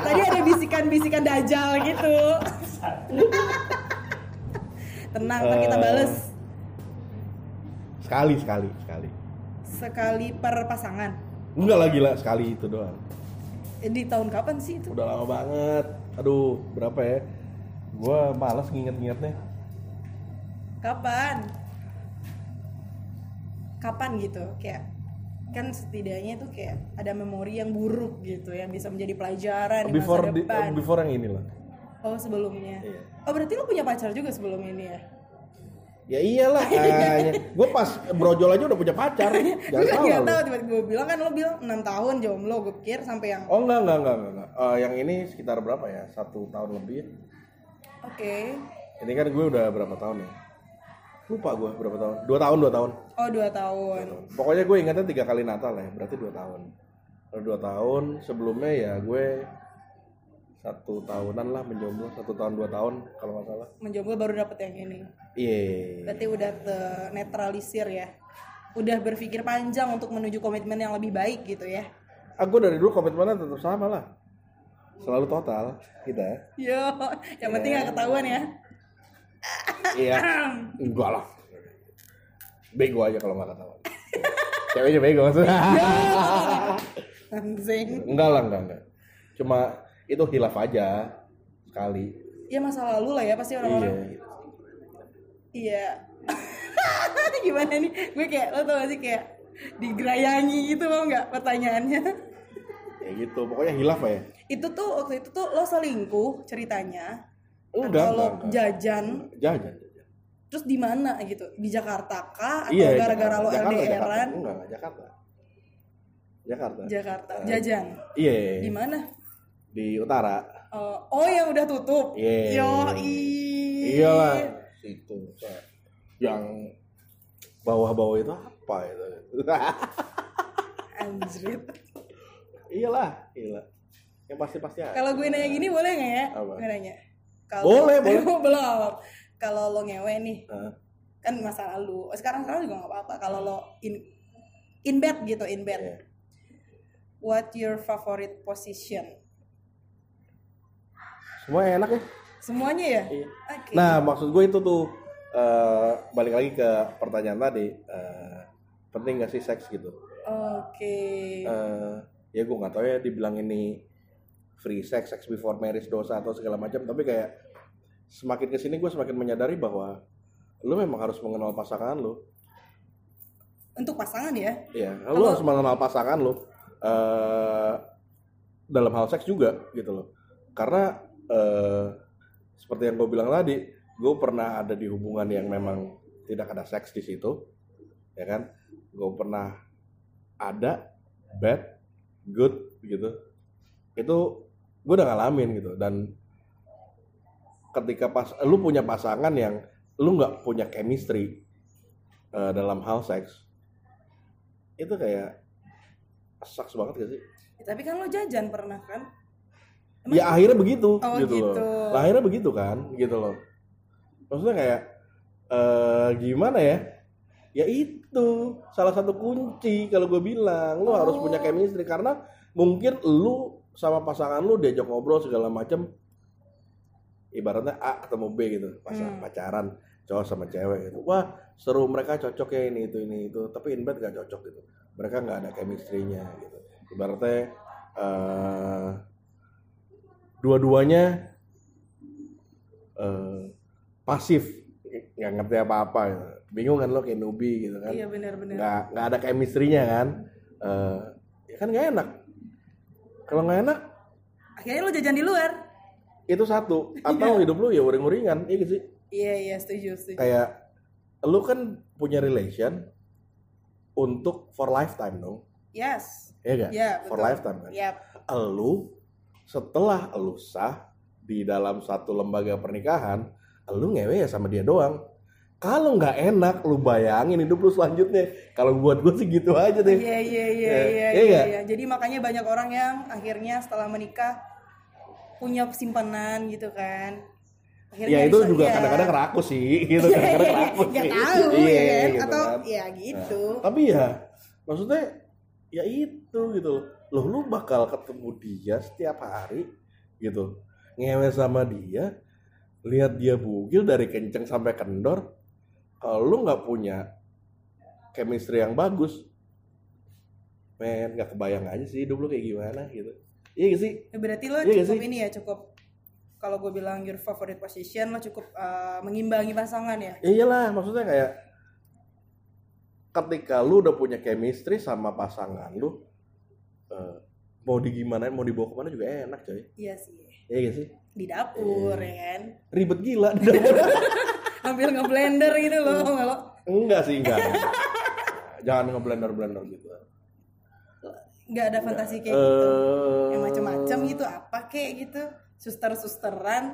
Speaker 1: Tadi ada bisikan-bisikan dajal gitu. Tenang, ntar kita bales
Speaker 2: Eh. sekali sekali sekali
Speaker 1: sekali per pasangan.
Speaker 2: enggak lah gila sekali itu doang
Speaker 1: Eh, Di tahun kapan sih itu?
Speaker 2: udah lama banget aduh berapa ya gua malas nginget-ngingetnya
Speaker 1: Kapan? Kapan gitu? Kayak kan setidaknya itu kayak ada memori yang buruk gitu yang bisa menjadi pelajaran di masa
Speaker 2: before di-
Speaker 1: depan.
Speaker 2: before yang ini lah
Speaker 1: oh, sebelumnya.
Speaker 2: Iya.
Speaker 1: Oh, berarti lo punya pacar juga sebelum ini ya?
Speaker 2: Ya iyalah kayaknya. gue pas brojol aja udah punya pacar.
Speaker 1: Gue
Speaker 2: Jangan
Speaker 1: kan
Speaker 2: salah
Speaker 1: nggak
Speaker 2: lu.
Speaker 1: tahu tiba-tiba gue bilang kan lo bilang 6 tahun jomblo gue pikir sampai yang
Speaker 2: Oh enggak enggak enggak enggak, enggak. Eh, yang ini sekitar berapa ya? Satu tahun lebih. ya?
Speaker 1: oke.
Speaker 2: Ini kan gue udah berapa tahun ya? Lupa gue berapa tahun. Dua tahun dua tahun.
Speaker 1: Oh dua tahun.
Speaker 2: Pokoknya gue ingatnya tiga kali Natal ya. Berarti dua tahun. Kalau dua tahun sebelumnya ya gue satu tahunan lah menjomblo satu tahun dua tahun kalau nggak salah.
Speaker 1: Menjomblo baru dapet yang ini.
Speaker 2: Iya.
Speaker 1: Berarti udah netralisir ya. Udah berpikir panjang untuk menuju komitmen yang lebih baik gitu ya.
Speaker 2: Aku Ah, dari dulu komitmennya tetap sama lah. Selalu total gitu ya. kita.
Speaker 1: Yo, yang penting gak ketahuan ya.
Speaker 2: Iya. Enggak lah. Bego aja kalau nggak ketahuan. ceweknya bego maksudnya
Speaker 1: Iya. anjing
Speaker 2: enggak lah enggak enggak cuma itu hilaf aja sekali
Speaker 1: ya masa lalu lah ya pasti
Speaker 2: iya
Speaker 1: orang-orang iya gimana nih gue kayak lo tau gak sih kayak digerayangi gitu mau nggak pertanyaannya
Speaker 2: kayak gitu pokoknya hilaf ya
Speaker 1: itu tuh waktu itu tuh lo selingkuh ceritanya
Speaker 2: Oh, Enggak,
Speaker 1: atau lo
Speaker 2: enggak, enggak.
Speaker 1: jajan
Speaker 2: jajan
Speaker 1: terus di mana gitu di Jakarta kah atau
Speaker 2: iya
Speaker 1: gara-gara lo
Speaker 2: Jakarta, Jakarta.
Speaker 1: LDRan
Speaker 2: enggak enggak, Jakarta Jakarta
Speaker 1: Jakarta jajan
Speaker 2: iya
Speaker 1: di mana
Speaker 2: di utara
Speaker 1: Eh, oh yang udah tutup
Speaker 2: Iya.
Speaker 1: Yoi.
Speaker 2: iyalah itu yang bawah-bawah itu apa itu
Speaker 1: Anjrit.
Speaker 2: iyalah gila yang pasti-pasti ada
Speaker 1: Kalau gue nanya gini boleh nggak ya?
Speaker 2: Apa?
Speaker 1: Gue nanya. Kalau
Speaker 2: Boleh, boleh.
Speaker 1: Belum. Kalau lo ngewe nih,
Speaker 2: Hah?
Speaker 1: kan masa lalu. Sekarang sekarang juga nggak apa-apa. Kalau lo in in bed gitu, in bed.
Speaker 2: Iya.
Speaker 1: What your favorite position?
Speaker 2: semua enak ya
Speaker 1: Semuanya ya?
Speaker 2: Iya.
Speaker 1: Oke.
Speaker 2: Nah, maksud gue itu tuh eh, balik lagi ke pertanyaan tadi, eh, penting gak sih seks gitu?
Speaker 1: Oke.
Speaker 2: Eh, ya gue nggak tahu ya dibilang ini free sex, sex before marriage dosa atau segala macam, tapi kayak semakin kesini gue semakin menyadari bahwa lu memang harus mengenal pasangan lu.
Speaker 1: Untuk pasangan ya?
Speaker 2: Iya, lu
Speaker 1: Kalau-
Speaker 2: harus mengenal pasangan lu. eh dalam hal seks juga gitu loh. Karena eh seperti yang gue bilang tadi, gue pernah ada di hubungan yang memang tidak ada seks di situ, ya kan? Gue pernah ada bad, good gitu. Itu gue udah ngalamin gitu dan ketika pas lu punya pasangan yang lu nggak punya chemistry eh, dalam hal seks itu kayak sucks banget gak sih?
Speaker 1: Ya, Tapi kan lo jajan pernah kan?
Speaker 2: Ya
Speaker 1: Emang-
Speaker 2: akhirnya begitu
Speaker 1: Oh,
Speaker 2: gitu,
Speaker 1: gitu.
Speaker 2: loh. Lah, akhirnya begitu kan gitu loh. Maksudnya kayak eh gimana ya? Ya itu salah satu kunci kalau gue bilang lu harus
Speaker 1: Oh.
Speaker 2: punya chemistry karena mungkin lu sama pasangan lu diajak ngobrol segala macem ibaratnya A ketemu B gitu pas
Speaker 1: Hmm.
Speaker 2: pacaran cowok sama cewek gitu wah seru mereka cocok ya ini itu ini itu tapi inbet gak cocok gitu mereka nggak ada chemistry-nya gitu ibaratnya eh dua-duanya eh pasif nggak ngerti apa-apa gitu. bingung kan lo kayak nubi gitu kan
Speaker 1: Iya benar-benar.
Speaker 2: nggak nggak ada chemistry-nya kan Eh ya kan nggak enak kalau nggak enak
Speaker 1: Akhirnya lo jajan di luar.
Speaker 2: itu satu atau hidup lu ya uring-uringan iya gak sih
Speaker 1: Iya iya setuju setuju.
Speaker 2: kayak lu kan punya relation untuk for lifetime dong
Speaker 1: Yes.
Speaker 2: ya gak?
Speaker 1: Iya,
Speaker 2: for
Speaker 1: betul.
Speaker 2: lifetime kan
Speaker 1: Yap.
Speaker 2: elu setelah elu sah di dalam satu lembaga pernikahan elu ngewe ya sama dia doang kalau nggak enak lu bayangin hidup lu selanjutnya kalau buat gue sih gitu aja deh
Speaker 1: Iya iya iya
Speaker 2: Ya,
Speaker 1: iya
Speaker 2: iya
Speaker 1: iya.
Speaker 2: nggak?
Speaker 1: iya. Jadi makanya banyak orang yang akhirnya setelah menikah punya simpanan gitu kan. iya.
Speaker 2: ya itu juga kadang-kadang rakus sih gitu kadang-kadang rakus
Speaker 1: Gak
Speaker 2: sih.
Speaker 1: iya, tahu ya kan
Speaker 2: gitu
Speaker 1: atau
Speaker 2: kan.
Speaker 1: ya gitu.
Speaker 2: Nah, tapi ya maksudnya ya itu gitu loh. Loh lu bakal ketemu dia setiap hari gitu. Ngewe sama dia, lihat dia bugil dari kenceng sampai kendor. Kalau lu nggak punya chemistry yang bagus, men nggak kebayang aja sih hidup lu kayak gimana gitu. Iya nggak sih?
Speaker 1: Ya, Berarti lo
Speaker 2: Iya nggak
Speaker 1: cukup
Speaker 2: sih?
Speaker 1: ini ya cukup kalau gue bilang your favorite position lo cukup eh, mengimbangi pasangan ya.
Speaker 2: Ya iyalah, maksudnya kayak ketika lu udah punya chemistry sama pasangan lu eh, mau di gimana mau dibawa kemana juga enak coy
Speaker 1: Iya sih.
Speaker 2: iya gak sih
Speaker 1: Di dapur
Speaker 2: Iya.
Speaker 1: ya kan.
Speaker 2: ribet gila di dapur.
Speaker 1: Hampir ngeblender gitu loh tau nggak lo.
Speaker 2: enggak sih enggak jangan ngeblender blender gitu
Speaker 1: Gak ada fantasi kayak gitu.
Speaker 2: eh
Speaker 1: Yang macam-macam gitu apa kayak gitu. Suster-susteran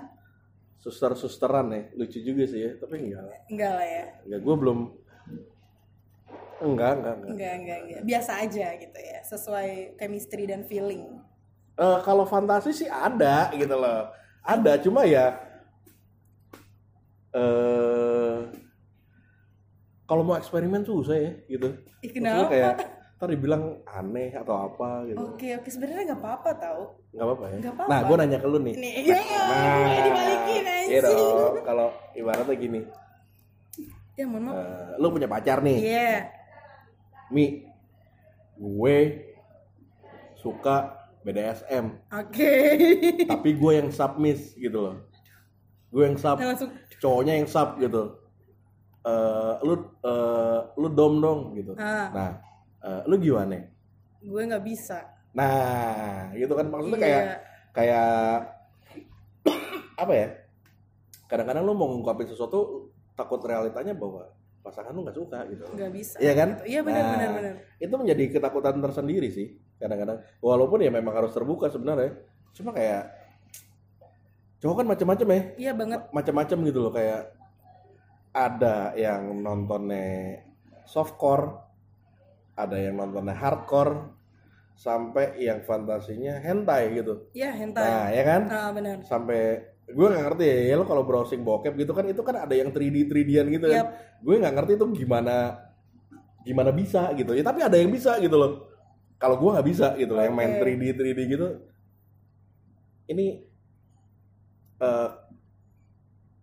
Speaker 2: suster susteran ya lucu juga sih ya tapi enggak lah.
Speaker 1: enggak lah ya.
Speaker 2: enggak gue belum enggak enggak enggak
Speaker 1: Enggak, enggak, enggak. Biasa aja gitu ya, sesuai chemistry dan feeling.
Speaker 2: Eh, kalau fantasi sih ada gitu loh. Ada cuma ya eh kalau mau eksperimen susah ya gitu.
Speaker 1: Ih,
Speaker 2: Maksudnya
Speaker 1: kenapa?
Speaker 2: kayak ntar dibilang aneh atau apa gitu.
Speaker 1: Oke, oke, sebenarnya nggak apa-apa tau.
Speaker 2: nggak apa-apa ya.
Speaker 1: Oh, Nggak apa-apa.
Speaker 2: Nah, gue nanya ke lu nih. Nah,
Speaker 1: Nih, ya, ya, gue dibalikin
Speaker 2: iya
Speaker 1: anjing.
Speaker 2: dong. Kalau ibaratnya gini,
Speaker 1: Ya, mohon maaf.
Speaker 2: eh, lu punya pacar nih,
Speaker 1: Iya.
Speaker 2: Mi. gue suka BDSM
Speaker 1: Oke.
Speaker 2: tapi gue yang submiss gitu loh gue yang sub
Speaker 1: Nah, langsung
Speaker 2: cowoknya yang sub gitu Eh lu eh, lu dom dong gitu
Speaker 1: Ah.
Speaker 2: nah eh, lu gimana
Speaker 1: gue nggak bisa.
Speaker 2: nah gitu kan maksudnya
Speaker 1: Iya.
Speaker 2: kayak kayak apa ya kadang-kadang lu mau ngungkapin sesuatu takut realitanya bahwa pasangan lu nggak suka gitu loh.
Speaker 1: nggak bisa.
Speaker 2: Iya kan?
Speaker 1: Iya benar
Speaker 2: Nah.
Speaker 1: benar benar.
Speaker 2: itu menjadi ketakutan tersendiri sih kadang-kadang walaupun ya memang harus terbuka sebenarnya cuma kayak cowok kan macam-macam ya
Speaker 1: Iya banget.
Speaker 2: macam-macam gitu loh kayak ada yang nontonnya softcore, ada yang nontonnya hardcore, sampai yang fantasinya hentai gitu.
Speaker 1: Iya hentai.
Speaker 2: Nah, ya kan?
Speaker 1: Ah benar.
Speaker 2: Sampai gue nggak ngerti ya, ya lo kalau browsing bokep gitu kan itu kan ada yang 3D 3D-an gitu kan.
Speaker 1: Yap.
Speaker 2: Gue nggak ngerti itu gimana gimana bisa gitu. Ya tapi ada yang bisa gitu loh. Kalau gue nggak bisa gitu loh, yang main
Speaker 1: Oke.
Speaker 2: 3D 3D gitu. Ini eh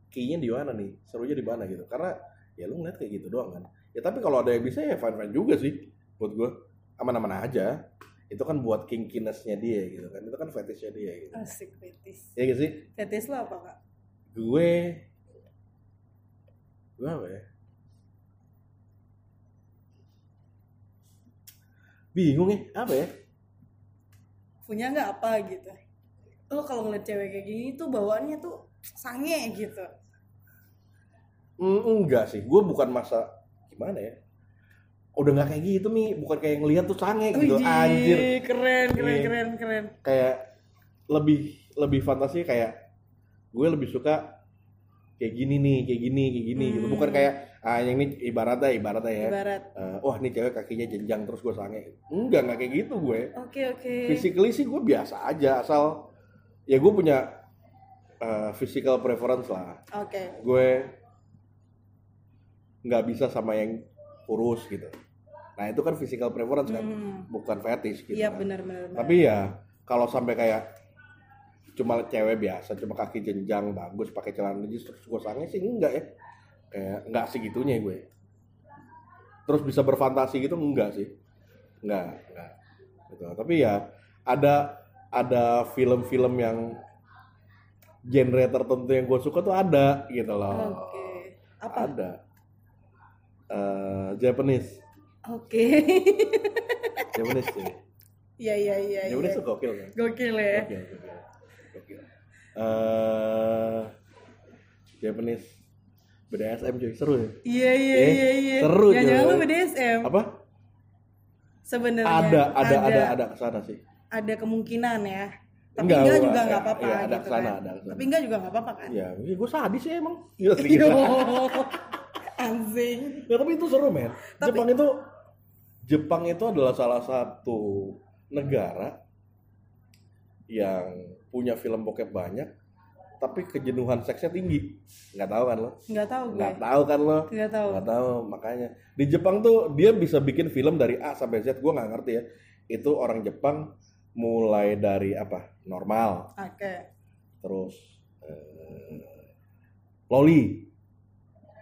Speaker 2: key-nya di mana nih? Serunya di mana gitu? Karena ya lu ngeliat kayak gitu doang kan. Ya tapi kalau ada yang bisa ya fine-fine juga sih buat gue. Aman-aman aja. Itu kan buat kinkiness-nya dia gitu kan. Itu kan fetishnya dia gitu.
Speaker 1: Asik fetis.
Speaker 2: Iya gak sih?
Speaker 1: Fetis lo apa kak?
Speaker 2: Gue gue apa ya? Bingung ya, apa ya?
Speaker 1: Punya nggak apa gitu? Lo kalau ngeliat cewek kayak gini tuh bawaannya tuh sange gitu.
Speaker 2: Mm, enggak sih, gue bukan masa gimana ya? Udah nggak kayak gitu Mi, bukan kayak ngelihat tuh sange gitu,
Speaker 1: Wih,
Speaker 2: anjir.
Speaker 1: Keren keren
Speaker 2: Iya.
Speaker 1: keren keren.
Speaker 2: Kayak lebih lebih fantasi kayak gue lebih suka kayak gini nih, kayak gini, kayak gini gitu.
Speaker 1: Hmm.
Speaker 2: Bukan kayak ah yang ini ibaratnya ibaratnya ya.
Speaker 1: Ibarat.
Speaker 2: Eh, wah nih cewek kakinya jenjang terus gue sange. Enggak, nggak kayak gitu gue.
Speaker 1: Oke oke.
Speaker 2: physically sih gue biasa aja asal ya gue punya uh, physical preference lah
Speaker 1: Oke.
Speaker 2: gue nggak bisa sama yang kurus gitu nah itu kan physical preference kan
Speaker 1: Hmm.
Speaker 2: bukan fetish gitu
Speaker 1: Iya
Speaker 2: kan.
Speaker 1: benar benar. benar.
Speaker 2: tapi ya kalau sampai kayak cuma cewek biasa cuma kaki jenjang bagus pakai celana jeans terus gue sange sih enggak ya kayak enggak segitunya gue terus bisa berfantasi gitu enggak sih enggak enggak gitu. tapi ya ada ada film-film yang genre tertentu yang gue suka tuh ada gitu loh
Speaker 1: Oke. Apa?
Speaker 2: ada Eh, Japanese
Speaker 1: Oke.
Speaker 2: Japanese sih
Speaker 1: Iya iya iya. iya.
Speaker 2: Japanese tuh gokil kan
Speaker 1: Gokil ya.
Speaker 2: Gokil, gokil. Gokil. Eh, Japanese BDSM cuy seru ya.
Speaker 1: Iya iya
Speaker 2: Eh,
Speaker 1: iya iya.
Speaker 2: seru,
Speaker 1: Jangan jangan
Speaker 2: Joy.
Speaker 1: lu BDSM.
Speaker 2: Apa?
Speaker 1: Sebenarnya
Speaker 2: Ada ada ada ada kesana sih.
Speaker 1: ada kemungkinan ya. Tapi enggak,
Speaker 2: Enggak, enggak,
Speaker 1: juga
Speaker 2: enggak.
Speaker 1: enggak apa-apa
Speaker 2: Iya, ada
Speaker 1: gitu
Speaker 2: kesana,
Speaker 1: kan.
Speaker 2: ada kesana.
Speaker 1: Tapi Iya. enggak juga enggak apa-apa kan.
Speaker 2: Ya, gue sadis ya emang. Gila sih.
Speaker 1: Yo.
Speaker 2: Gila.
Speaker 1: Anjing.
Speaker 2: Ya, tapi itu seru men.
Speaker 1: Tapi-
Speaker 2: Jepang itu Jepang itu adalah salah satu negara yang punya film bokep banyak tapi kejenuhan seksnya tinggi. Nggak tahu kan lo?
Speaker 1: Enggak tahu gue.
Speaker 2: Nggak tahu kan lo?
Speaker 1: Enggak tahu.
Speaker 2: nggak tahu makanya di Jepang tuh dia bisa bikin film dari A sampai Z gue nggak ngerti ya itu orang Jepang mulai dari apa normal
Speaker 1: Oke.
Speaker 2: terus eh, loli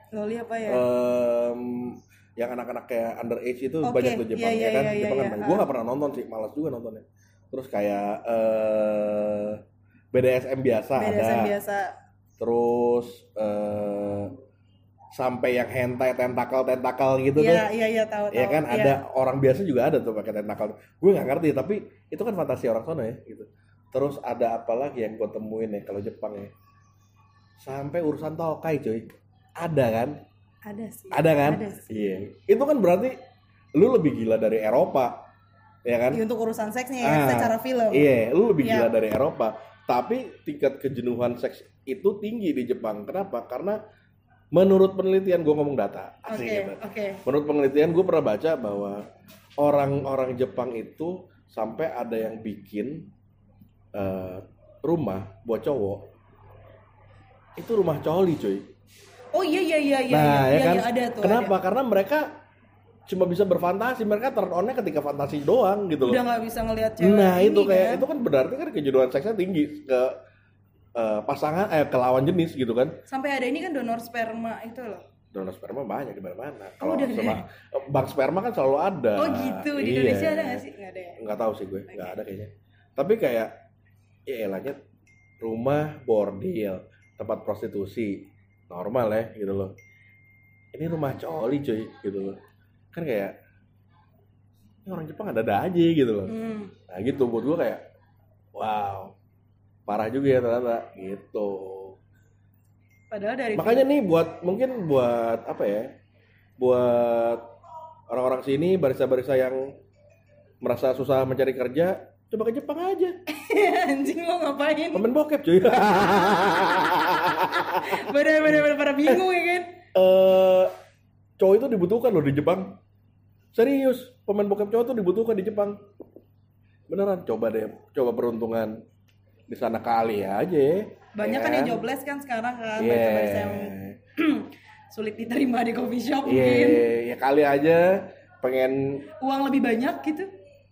Speaker 1: Loli apa ya?
Speaker 2: Eh, Em, yang anak-anak kayak underage itu
Speaker 1: Oke,
Speaker 2: banyak tuh
Speaker 1: iya,
Speaker 2: Jepang ya
Speaker 1: iya,
Speaker 2: kan
Speaker 1: iya, iya,
Speaker 2: Jepang kan
Speaker 1: iya.
Speaker 2: gue nggak pernah nonton sih malas juga nontonnya terus kayak eh, BDSM biasa
Speaker 1: BDSM
Speaker 2: ada
Speaker 1: biasa.
Speaker 2: terus eh, sampai yang hentai tentakel tentakel gitu tuh
Speaker 1: Iya iya iya tahu tahu.
Speaker 2: ya kan
Speaker 1: Iya.
Speaker 2: ada orang biasa juga ada tuh pakai tentakel gue nggak ngerti tapi itu kan fantasi orang sana ya gitu terus ada apa lagi yang gue temuin ya kalau Jepang ya sampai urusan tokai cuy ada kan
Speaker 1: Ada sih.
Speaker 2: ada kan
Speaker 1: Ada sih.
Speaker 2: iya itu kan berarti lu lebih gila dari Eropa ya kan
Speaker 1: Ya, untuk urusan seksnya ya,
Speaker 2: Ah,
Speaker 1: secara film.
Speaker 2: Iya, lu lebih
Speaker 1: Iya.
Speaker 2: gila dari Eropa. Tapi tingkat kejenuhan seks itu tinggi di Jepang. Kenapa? Karena menurut penelitian gue ngomong data.
Speaker 1: Oke,
Speaker 2: Asik gitu.
Speaker 1: oke.
Speaker 2: Menurut penelitian gue pernah baca bahwa orang-orang Jepang itu sampai ada yang bikin eh, rumah buat cowok itu rumah coli cuy.
Speaker 1: Oh iya iya iya iya.
Speaker 2: nah
Speaker 1: iya,
Speaker 2: ya kan,
Speaker 1: iya, ada tuh.
Speaker 2: kenapa?
Speaker 1: Ada.
Speaker 2: Karena mereka cuma bisa berfantasi, mereka turn on-nya ketika fantasi doang gitu loh
Speaker 1: Udah nggak bisa ngelihat cewek.
Speaker 2: nah
Speaker 1: ini,
Speaker 2: itu kayak
Speaker 1: kan?
Speaker 2: itu kan berarti kan kejuduan seksnya tinggi ke eh, pasangan eh ke lawan jenis gitu kan
Speaker 1: Sampai ada ini kan donor sperma itu loh.
Speaker 2: donor sperma banyak di mana-mana.
Speaker 1: Oh,
Speaker 2: Kalau
Speaker 1: udah
Speaker 2: sperma, bank sperma kan selalu ada.
Speaker 1: Oh gitu di
Speaker 2: Iya.
Speaker 1: Indonesia ada nggak sih? Nggak ada ya.
Speaker 2: Nggak tahu sih gue, nggak ada kayaknya. Tapi kayak ya elahnya rumah bordil, tempat prostitusi normal ya gitu loh. Ini rumah coli cuy gitu loh. Kan kayak ini orang Jepang ada-ada aja gitu loh.
Speaker 1: Hmm.
Speaker 2: Nah gitu buat gue kayak wow parah juga ya ternyata gitu.
Speaker 1: Padahal dari
Speaker 2: Makanya nih buat mungkin buat apa ya? Buat orang-orang sini barista-barista yang merasa susah mencari kerja, coba ke Jepang aja.
Speaker 1: anjing lo ngapain?
Speaker 2: Temen bokep cuy.
Speaker 1: Bener-bener pada bingung ya kan?
Speaker 2: Eh, cowok itu dibutuhkan loh di Jepang. Serius, pemain bokep cowok itu dibutuhkan di Jepang. Beneran, coba deh, coba peruntungan di sana kali aja.
Speaker 1: Banyak
Speaker 2: ya
Speaker 1: kan yang jobless kan sekarang kan
Speaker 2: Iya.
Speaker 1: barista-barista yang sulit diterima di coffee shop
Speaker 2: Iya,
Speaker 1: mungkin
Speaker 2: ya kali aja pengen
Speaker 1: uang lebih banyak gitu.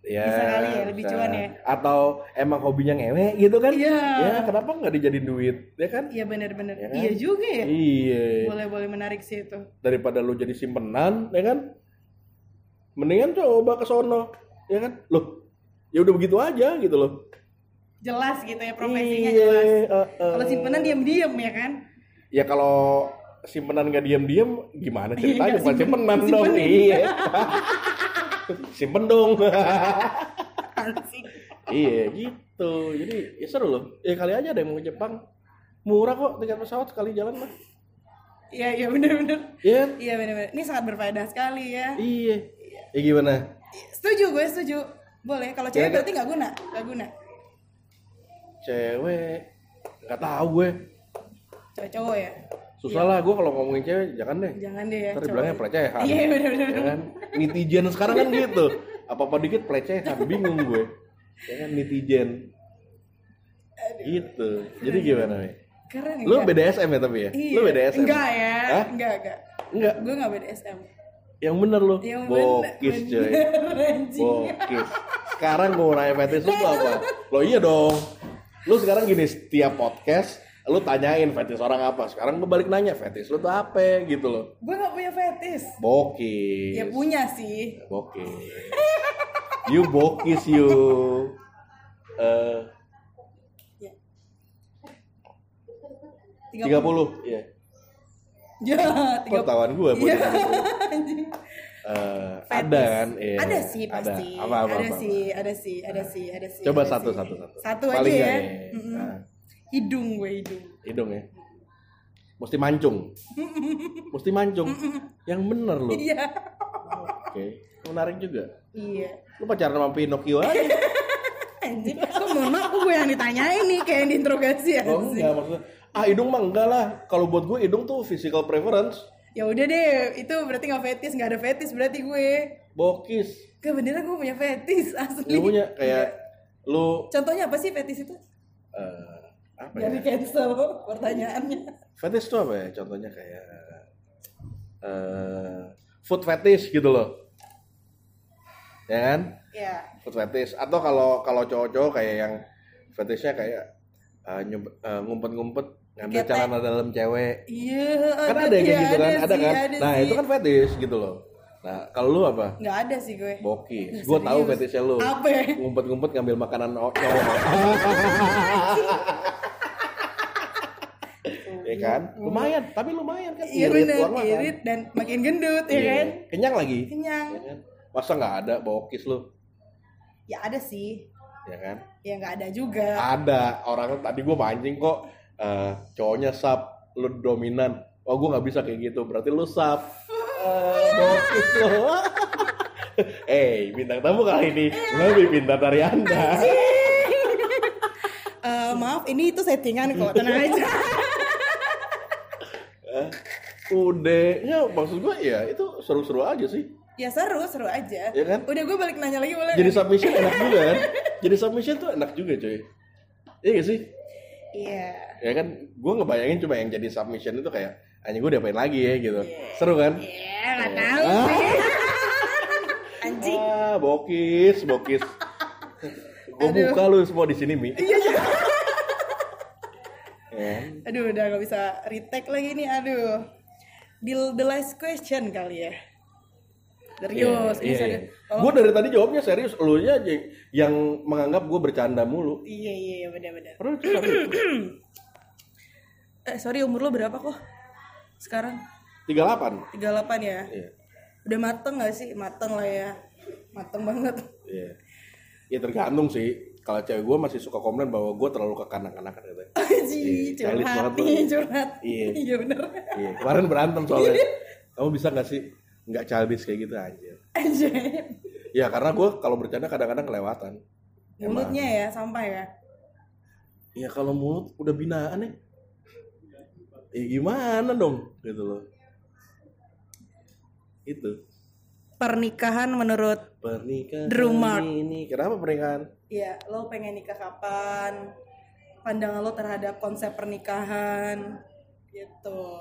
Speaker 2: ya
Speaker 1: Bisa kali ya, lebih
Speaker 2: bisa.
Speaker 1: cuan ya.
Speaker 2: Atau emang hobinya ngewe gitu kan?
Speaker 1: Iya.
Speaker 2: Ya, kenapa nggak dijadiin duit? Ya kan?
Speaker 1: Iya bener-bener.
Speaker 2: Iya kan?
Speaker 1: Iya juga ya.
Speaker 2: Iya.
Speaker 1: Boleh-boleh menarik sih itu.
Speaker 2: daripada lu jadi simpenan ya kan mendingan coba ke sono ya kan loh ya udah begitu aja gitu loh
Speaker 1: Jelas gitu ya profesinya
Speaker 2: Iya,
Speaker 1: jelas.
Speaker 2: eh, eh.
Speaker 1: Kalau simpenan diam-diam ya kan?
Speaker 2: ya kalau simpenan gak diam-diam gimana
Speaker 1: Iya,
Speaker 2: ceritanya bukan
Speaker 1: simpen-
Speaker 2: simpenan dong
Speaker 1: simpenin.
Speaker 2: iya simpen dong
Speaker 1: Anjing.
Speaker 2: iya gitu jadi ya seru loh ya kali aja ada yang mau ke Jepang murah kok tiket pesawat sekali jalan mah
Speaker 1: Iya iya bener-bener.
Speaker 2: iya kan?
Speaker 1: Iya bener-bener. Ini sangat berfaedah sekali ya.
Speaker 2: iya ya gimana
Speaker 1: Setuju gue setuju. Boleh kalau cewek
Speaker 2: Iya,
Speaker 1: berarti nggak guna, nggak guna.
Speaker 2: cewek nggak tahu gue
Speaker 1: Cowok cowok ya.
Speaker 2: susah lah gue kalau ngomongin cewek jangan deh
Speaker 1: Jangan deh ya.
Speaker 2: Ntar
Speaker 1: cowok.
Speaker 2: dibilangnya pelecehan.
Speaker 1: Iya bener-bener.
Speaker 2: Ya kan? Netizen sekarang kan gitu. Apa-apa dikit pelecehan, bingung gue. Ya kan netizen. Gitu. Jadi gimana, Mi?
Speaker 1: Keren
Speaker 2: Lu
Speaker 1: enggak?
Speaker 2: BDSM ya tapi ya?
Speaker 1: Iya.
Speaker 2: Lu BDSM?
Speaker 1: Enggak ya.
Speaker 2: Hah?
Speaker 1: Enggak, enggak.
Speaker 2: Enggak.
Speaker 1: Gue enggak BDSM.
Speaker 2: Yang bener lu.
Speaker 1: Yang
Speaker 2: Bokis,
Speaker 1: bener-
Speaker 2: coy.
Speaker 1: bener, Ya, anjing.
Speaker 2: Bokis. Sekarang gue nanya fetish lu tuh apa? Lo iya dong. Lu sekarang gini, setiap podcast lu tanyain fetish orang apa. Sekarang gue balik nanya, fetish lu tuh apa gitu loh.
Speaker 1: Gue enggak punya fetis.
Speaker 2: Bokis.
Speaker 1: Ya punya sih.
Speaker 2: Bokis. You bokis you. Eh
Speaker 1: Tiga
Speaker 2: 30. Iya.
Speaker 1: Ya,
Speaker 2: Kok
Speaker 1: 30.
Speaker 2: tawan gue buat
Speaker 1: Iya,
Speaker 2: 30?
Speaker 1: anjing.
Speaker 2: Eh,
Speaker 1: Fetis.
Speaker 2: ada kan? Iya.
Speaker 1: Ada sih pasti.
Speaker 2: Ada, apa, apa,
Speaker 1: ada
Speaker 2: apa.
Speaker 1: sih, ada sih, ada sih, ada sih.
Speaker 2: Coba
Speaker 1: ada
Speaker 2: satu,
Speaker 1: sih.
Speaker 2: satu, satu.
Speaker 1: Satu
Speaker 2: Paling
Speaker 1: aja ya.
Speaker 2: nggak nih?
Speaker 1: Mm-mm.
Speaker 2: Nah,
Speaker 1: Hidung gue hidung.
Speaker 2: hidung ya. Mesti mancung. Mesti mancung. Yang bener lu. Oke.
Speaker 1: Iya.
Speaker 2: Menarik juga.
Speaker 1: Iya.
Speaker 2: Lu pacaran sama Pinocchio aja.
Speaker 1: Anjing, kok mohon maaf kok gue yang ditanyain nih kayak yang diinterogasi ya.
Speaker 2: Oh enggak maksudnya. Ah hidung mah enggak lah. Kalau buat gue hidung tuh physical preference.
Speaker 1: Ya udah deh, itu berarti nggak fetis, nggak ada fetis berarti gue.
Speaker 2: Bokis.
Speaker 1: Gak beneran gue punya fetis asli.
Speaker 2: Lu punya kayak lu
Speaker 1: Contohnya apa sih fetis itu?
Speaker 2: eh apa ya?
Speaker 1: Dari cancel pertanyaannya.
Speaker 2: Fetish tuh apa ya? Contohnya kayak eh food fetish gitu loh. Ya kan?
Speaker 1: Ya.
Speaker 2: Food fetish atau kalau kalau cowok-cowok kayak yang fetishnya kayak eh, nyump- eh, ngumpet-ngumpet ngambil
Speaker 1: Ketek.
Speaker 2: celana dalam cewek.
Speaker 1: Iya.
Speaker 2: Kan ada yang kayak
Speaker 1: iya,
Speaker 2: gitu kan? Ada
Speaker 1: sih,
Speaker 2: kan?
Speaker 1: ada
Speaker 2: Nah,
Speaker 1: sih.
Speaker 2: itu kan fetish gitu loh. Nah, kalau lu apa?
Speaker 1: nggak ada sih gue.
Speaker 2: Bokis. Gue tahu
Speaker 1: Iya, serius.
Speaker 2: fetishnya lu.
Speaker 1: Apa? ya?
Speaker 2: Ngumpet-ngumpet ngambil makanan o- cowok. ya kan? Lumayan, tapi lumayan kan
Speaker 1: Iya
Speaker 2: irit
Speaker 1: bener,
Speaker 2: uang makan.
Speaker 1: irit dan makin gendut ya
Speaker 2: Iya.
Speaker 1: kan?
Speaker 2: Kenyang lagi.
Speaker 1: Kenyang.
Speaker 2: Ya kan? Masa nggak ada bokis lu?
Speaker 1: Ya ada sih.
Speaker 2: Ya kan?
Speaker 1: Ya nggak ada juga.
Speaker 2: Ada orang tadi gua mancing kok eh, cowoknya sub, lu dominan. Wah, gua nggak bisa kayak gitu. Berarti lu sub. Eh, bokis lu. Eh, bintang tamu kali ini lebih pintar dari Anda.
Speaker 1: Eh, maaf, ini itu settingan kok, tenang aja.
Speaker 2: Udah, ya maksud gua ya itu seru-seru aja sih.
Speaker 1: ya seru, seru aja.
Speaker 2: Iya kan?
Speaker 1: Udah gue balik nanya lagi boleh?
Speaker 2: Jadi
Speaker 1: nggak?
Speaker 2: submission enak juga kan? Jadi submission tuh enak juga cuy. Iya gak sih?
Speaker 1: Iya.
Speaker 2: Ya kan, gue ngebayangin cuma yang jadi submission itu kayak Anjing gue diapain lagi ya gitu
Speaker 1: Iya.
Speaker 2: Seru kan?
Speaker 1: Iya, nggak tahu sih. Anjing.
Speaker 2: Ah, bokis, bokis Gue
Speaker 1: Aduh. Iya,
Speaker 2: buka lu semua di sini Mi Ya.
Speaker 1: Aduh, udah nggak bisa retake lagi nih, aduh. di the last question kali ya. Serius,
Speaker 2: Iya,
Speaker 1: Oh, ini serius.
Speaker 2: Gue dari tadi jawabnya serius, lu nya aja yang- yang menganggap gue bercanda mulu.
Speaker 1: Iya iya iya benar-benar.
Speaker 2: Padahal itu serius.
Speaker 1: Eh sorry umur lo berapa kok? Sekarang 38
Speaker 2: 38.
Speaker 1: ya.
Speaker 2: Iya.
Speaker 1: Udah mateng gak sih? Mateng lah ya. Mateng banget.
Speaker 2: Iya. Ya tergantung sih. Kalau cewek gue masih suka komplain bahwa gue terlalu kekanak-kanakan katanya.
Speaker 1: Aji,
Speaker 2: Iya, elit
Speaker 1: curhat
Speaker 2: banget
Speaker 1: nih,
Speaker 2: lo.
Speaker 1: curhat.
Speaker 2: Iya.
Speaker 1: Iya bener.
Speaker 2: Iya, kemarin berantem soalnya.
Speaker 1: Iya.
Speaker 2: Kamu bisa gak sih nggak childish kayak gitu aja?
Speaker 1: Aji.
Speaker 2: Ya karena gue kalau bercanda kadang-kadang kelewatan.
Speaker 1: Mulutnya ya, sampah ya.
Speaker 2: Ya kalau mulut udah binaan ya. Ya gimana dong gitu loh. Itu
Speaker 1: Pernikahan menurut
Speaker 2: pernikahan
Speaker 1: Drew Mark.
Speaker 2: ini kenapa pernikahan?
Speaker 1: Iya, lo pengen nikah kapan? Pandangan lo terhadap konsep pernikahan gitu.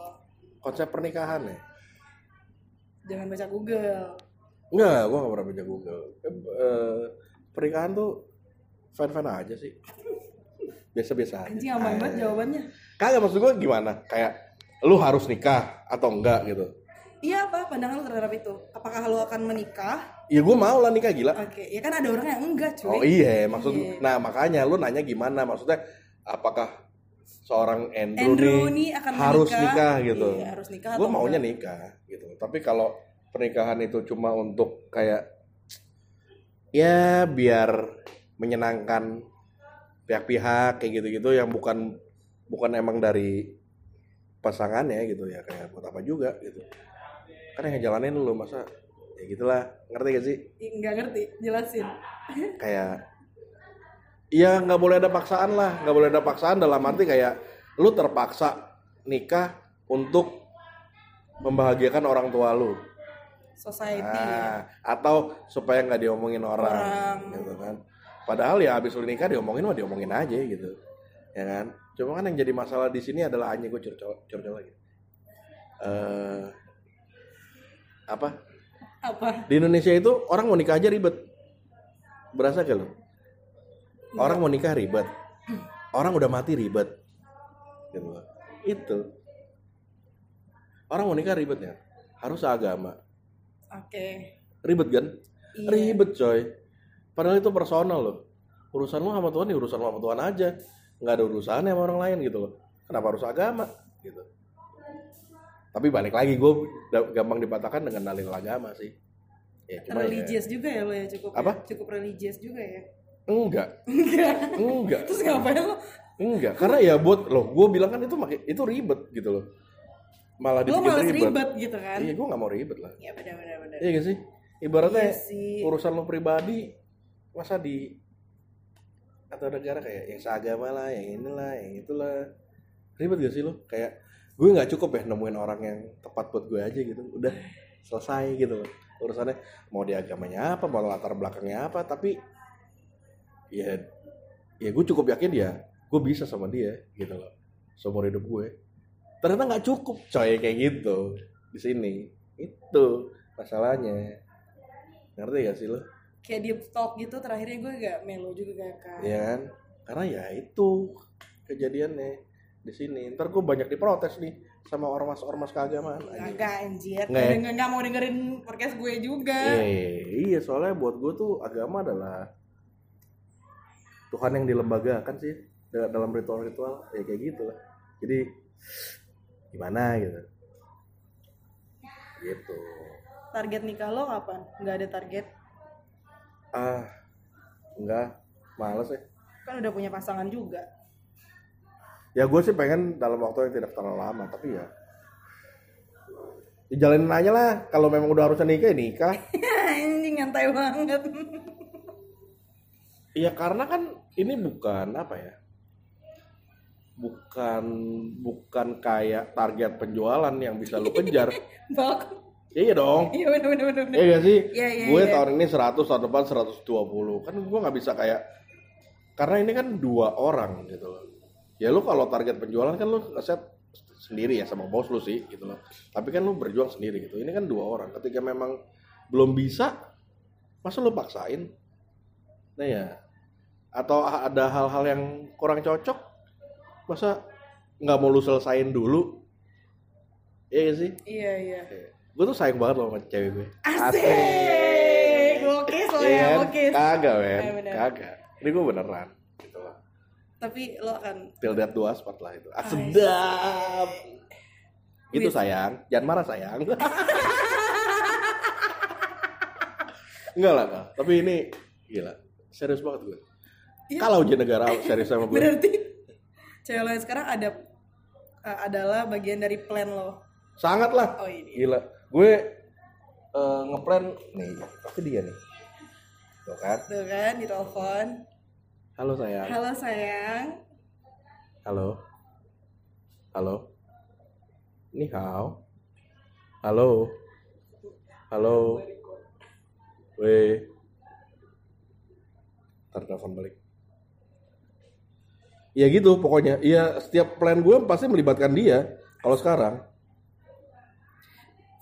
Speaker 2: Konsep pernikahan ya?
Speaker 1: Jangan baca Google.
Speaker 2: Enggak, gue gak pernah baca Google. Eh, eh, pernikahan tuh fan-fan aja sih. Biasa-biasa aja.
Speaker 1: Anjing aman
Speaker 2: Iya.
Speaker 1: banget jawabannya.
Speaker 2: Kagak maksud gue gimana? Kayak lu harus nikah atau enggak gitu.
Speaker 1: Iya apa pandangan lo terhadap itu? Apakah lo akan menikah?
Speaker 2: Ya gue mau lah nikah gila.
Speaker 1: Oke, ya kan ada orang yang enggak cuy.
Speaker 2: Oh iya, maksud
Speaker 1: Iya.
Speaker 2: nah makanya lu nanya gimana? Maksudnya apakah seorang Andrew,
Speaker 1: Andrew
Speaker 2: nih
Speaker 1: nih akan
Speaker 2: harus
Speaker 1: menikah.
Speaker 2: nikah, gitu.
Speaker 1: Iya, harus nikah
Speaker 2: Gue
Speaker 1: atau
Speaker 2: maunya
Speaker 1: enggak?
Speaker 2: nikah gitu. Tapi kalau pernikahan itu cuma untuk kayak ya biar menyenangkan pihak-pihak kayak gitu-gitu yang bukan bukan emang dari pasangannya gitu ya kayak buat apa juga gitu. Kan yang ngejalanin lu masa ya gitulah. Ngerti gak sih?
Speaker 1: Ih, Enggak ngerti, jelasin.
Speaker 2: kayak ya nggak boleh ada paksaan lah nggak boleh ada paksaan dalam arti kayak lu terpaksa nikah untuk membahagiakan orang tua lu
Speaker 1: Society. ya.
Speaker 2: Nah, atau supaya nggak diomongin orang,
Speaker 1: Orang.
Speaker 2: gitu kan padahal ya abis lu nikah diomongin mah diomongin aja gitu ya kan cuma kan yang jadi masalah di sini adalah hanya gue curcol curcol lagi eh apa
Speaker 1: Apa?
Speaker 2: di Indonesia itu orang mau nikah aja ribet. Berasa gak lo? Orang mau nikah ribet. Orang udah mati ribet. Gitu loh. Itu. Orang mau nikah ribet ya. Harus agama.
Speaker 1: Oke.
Speaker 2: Ribet kan?
Speaker 1: Iya.
Speaker 2: Ribet coy. Padahal itu personal loh. Urusan lo sama Tuhan ya urusan lo sama Tuhan aja. Nggak ada urusannya sama orang lain gitu loh. Kenapa harus agama? Gitu. Tapi balik lagi gue gampang dipatahkan dengan dalil agama sih. Ya, cuma ya-
Speaker 1: religious juga ya lo ya cukup. ya?
Speaker 2: Apa?
Speaker 1: Cukup religious juga ya.
Speaker 2: Enggak,
Speaker 1: Enggak.
Speaker 2: enggak,
Speaker 1: Terus ngapain lo?
Speaker 2: enggak. Karena ya buat loh, gue bilang kan itu maki- itu ribet gitu loh. Malah
Speaker 1: Lo
Speaker 2: dibikin
Speaker 1: malas
Speaker 2: ribet.
Speaker 1: ribet gitu kan?
Speaker 2: Iya, gue nggak mau ribet lah.
Speaker 1: Iya benar benar benar.
Speaker 2: Iya gak sih? Ibaratnya
Speaker 1: Iya sih.
Speaker 2: urusan lo pribadi masa di atau negara kayak yang seagama lah, yang inilah, yang itulah. Ribet gak sih lo? Kayak gue nggak cukup ya nemuin orang yang tepat buat gue aja gitu. Udah selesai gitu loh. Urusannya mau di agamanya apa, mau latar belakangnya apa, tapi ya ya gue cukup yakin ya gue bisa sama dia gitu loh seumur hidup gue ternyata nggak cukup coy kayak gitu di sini itu masalahnya ngerti gak sih lo
Speaker 1: Kayak deep talk gitu terakhirnya gue agak melo juga kan.
Speaker 2: ya kan karena ya itu kejadiannya di sini ntar gue banyak diprotes nih sama ormas-ormas keagamaan anjing.
Speaker 1: Iya, Enggak anjir.
Speaker 2: Nggak ya?
Speaker 1: Enggak enggak mau dengerin podcast gue juga.
Speaker 2: Eh, iya soalnya buat gue tuh agama adalah Tuhan yang dilembagakan sih da- dalam ritual-ritual ya kayak gitu lah. Jadi gimana gitu. Gitu.
Speaker 1: Target nikah lo kapan? Enggak ada target.
Speaker 2: Ah, enggak, males ya.
Speaker 1: Kan udah punya pasangan juga.
Speaker 2: Ya gue sih pengen dalam waktu yang tidak terlalu lama, tapi ya ya jalanin aja lah. Kalau memang udah harusnya nikah, ya nikah.
Speaker 1: Anjing nyantai banget.
Speaker 2: Iya karena kan ini bukan apa ya? Bukan bukan kayak target penjualan yang bisa lu kejar.
Speaker 1: Bak.
Speaker 2: Ya iya dong.
Speaker 1: Iya benar benar benar.
Speaker 2: Iya gak sih?
Speaker 1: Iya, iya,
Speaker 2: gue
Speaker 1: iya.
Speaker 2: tahun ini 100, tahun depan 120. Kan gue nggak bisa kayak karena ini kan dua orang gitu loh. Ya lu kalau target penjualan kan lu set sendiri ya sama bos lu sih gitu loh. Tapi kan lu berjuang sendiri gitu. Ini kan dua orang. Ketika memang belum bisa masa lu paksain? Nah ya atau a- ada hal-hal yang kurang cocok masa nggak mau lu selesain dulu? Ya Iya gak sih?
Speaker 1: Iya iya.
Speaker 2: Gue tuh sayang banget loh sama cewek gue.
Speaker 1: Asik. Gokis lo ya,
Speaker 2: Iya kan?
Speaker 1: gokis.
Speaker 2: Kagak, men.
Speaker 1: Eh, bener.
Speaker 2: Kagak. Ini gue beneran. Gitu lah.
Speaker 1: Tapi lo kan, akan
Speaker 2: Till that do us part lah itu. Ah, sedap. Gitu sayang, jangan marah sayang. Enggak lah, Kak. tapi ini gila. Serius banget gue.
Speaker 1: Iya.
Speaker 2: Kalau ujian negara serius sama gue.
Speaker 1: berarti cewek lo yang sekarang ada eh, adalah bagian dari plan lo.
Speaker 2: Sangat lah.
Speaker 1: Oh ini.
Speaker 2: Gila. Gue eh, ngeplan nih, pasti dia nih. Tuh kan.
Speaker 1: Tuh kan di telepon.
Speaker 2: Halo sayang.
Speaker 1: Halo sayang.
Speaker 2: Halo. Halo. Ni hao. Halo. Halo. Weh. Ntar telepon balik. Ya gitu pokoknya. Iya setiap plan gue pasti melibatkan dia. Kalau sekarang.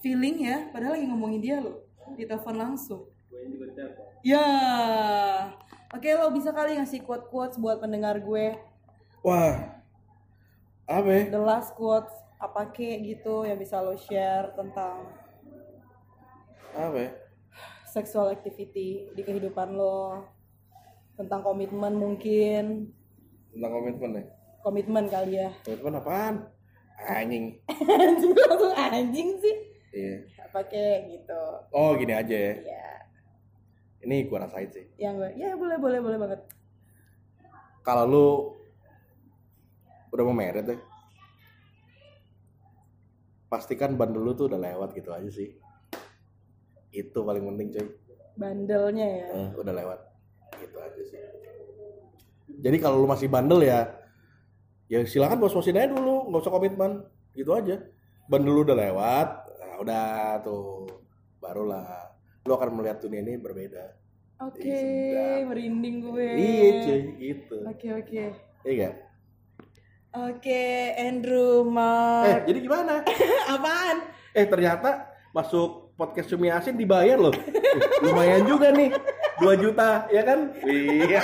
Speaker 1: Feeling ya, padahal lagi ngomongin dia lo. Di telepon langsung. Ya. Oke, lo bisa kali ngasih quote-quotes buat pendengar gue.
Speaker 2: Wah. Apa ya?
Speaker 1: The last quotes apa kek gitu yang bisa lo share tentang
Speaker 2: Apa ya?
Speaker 1: sexual activity di kehidupan lo tentang komitmen mungkin
Speaker 2: Tentang komitmen ya?
Speaker 1: komitmen kali ya
Speaker 2: Komitmen apaan? Anjing.
Speaker 1: anjing langsung anjing sih
Speaker 2: Iya.
Speaker 1: pakai gitu
Speaker 2: Oh gini aja ya.
Speaker 1: ya
Speaker 2: Ini gue rasain sih.
Speaker 1: yang gue ya boleh boleh boleh banget
Speaker 2: kalau lu udah mau merit ya pastikan bandel lu tuh udah lewat gitu aja sih itu paling penting cuy
Speaker 1: bandelnya ya
Speaker 2: Eh, udah lewat gitu aja sih jadi kalau lu masih bandel ya ya silakan bos bosin aja dulu nggak usah komitmen gitu aja bandel lu udah lewat nah, udah tuh barulah lu akan melihat dunia ini berbeda
Speaker 1: oke
Speaker 2: Ih, sedap.
Speaker 1: merinding gue
Speaker 2: iya cuy gitu
Speaker 1: oke oke
Speaker 2: iya gak?
Speaker 1: oke Andrew
Speaker 2: eh
Speaker 1: Mark
Speaker 2: jadi gimana
Speaker 1: apaan
Speaker 2: Eh ternyata masuk podcast Cumi Asin dibayar loh. Eh, Lumayan juga nih. 2 juta, ya kan? Iya.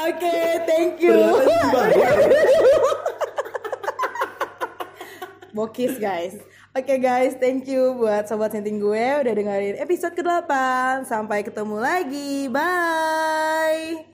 Speaker 1: oke thank you
Speaker 2: Ternyata dibayar.
Speaker 1: Bokis guys. Oke guys, thank you buat sobat senting gue udah dengerin episode ke-8. Sampai ketemu lagi. Bye.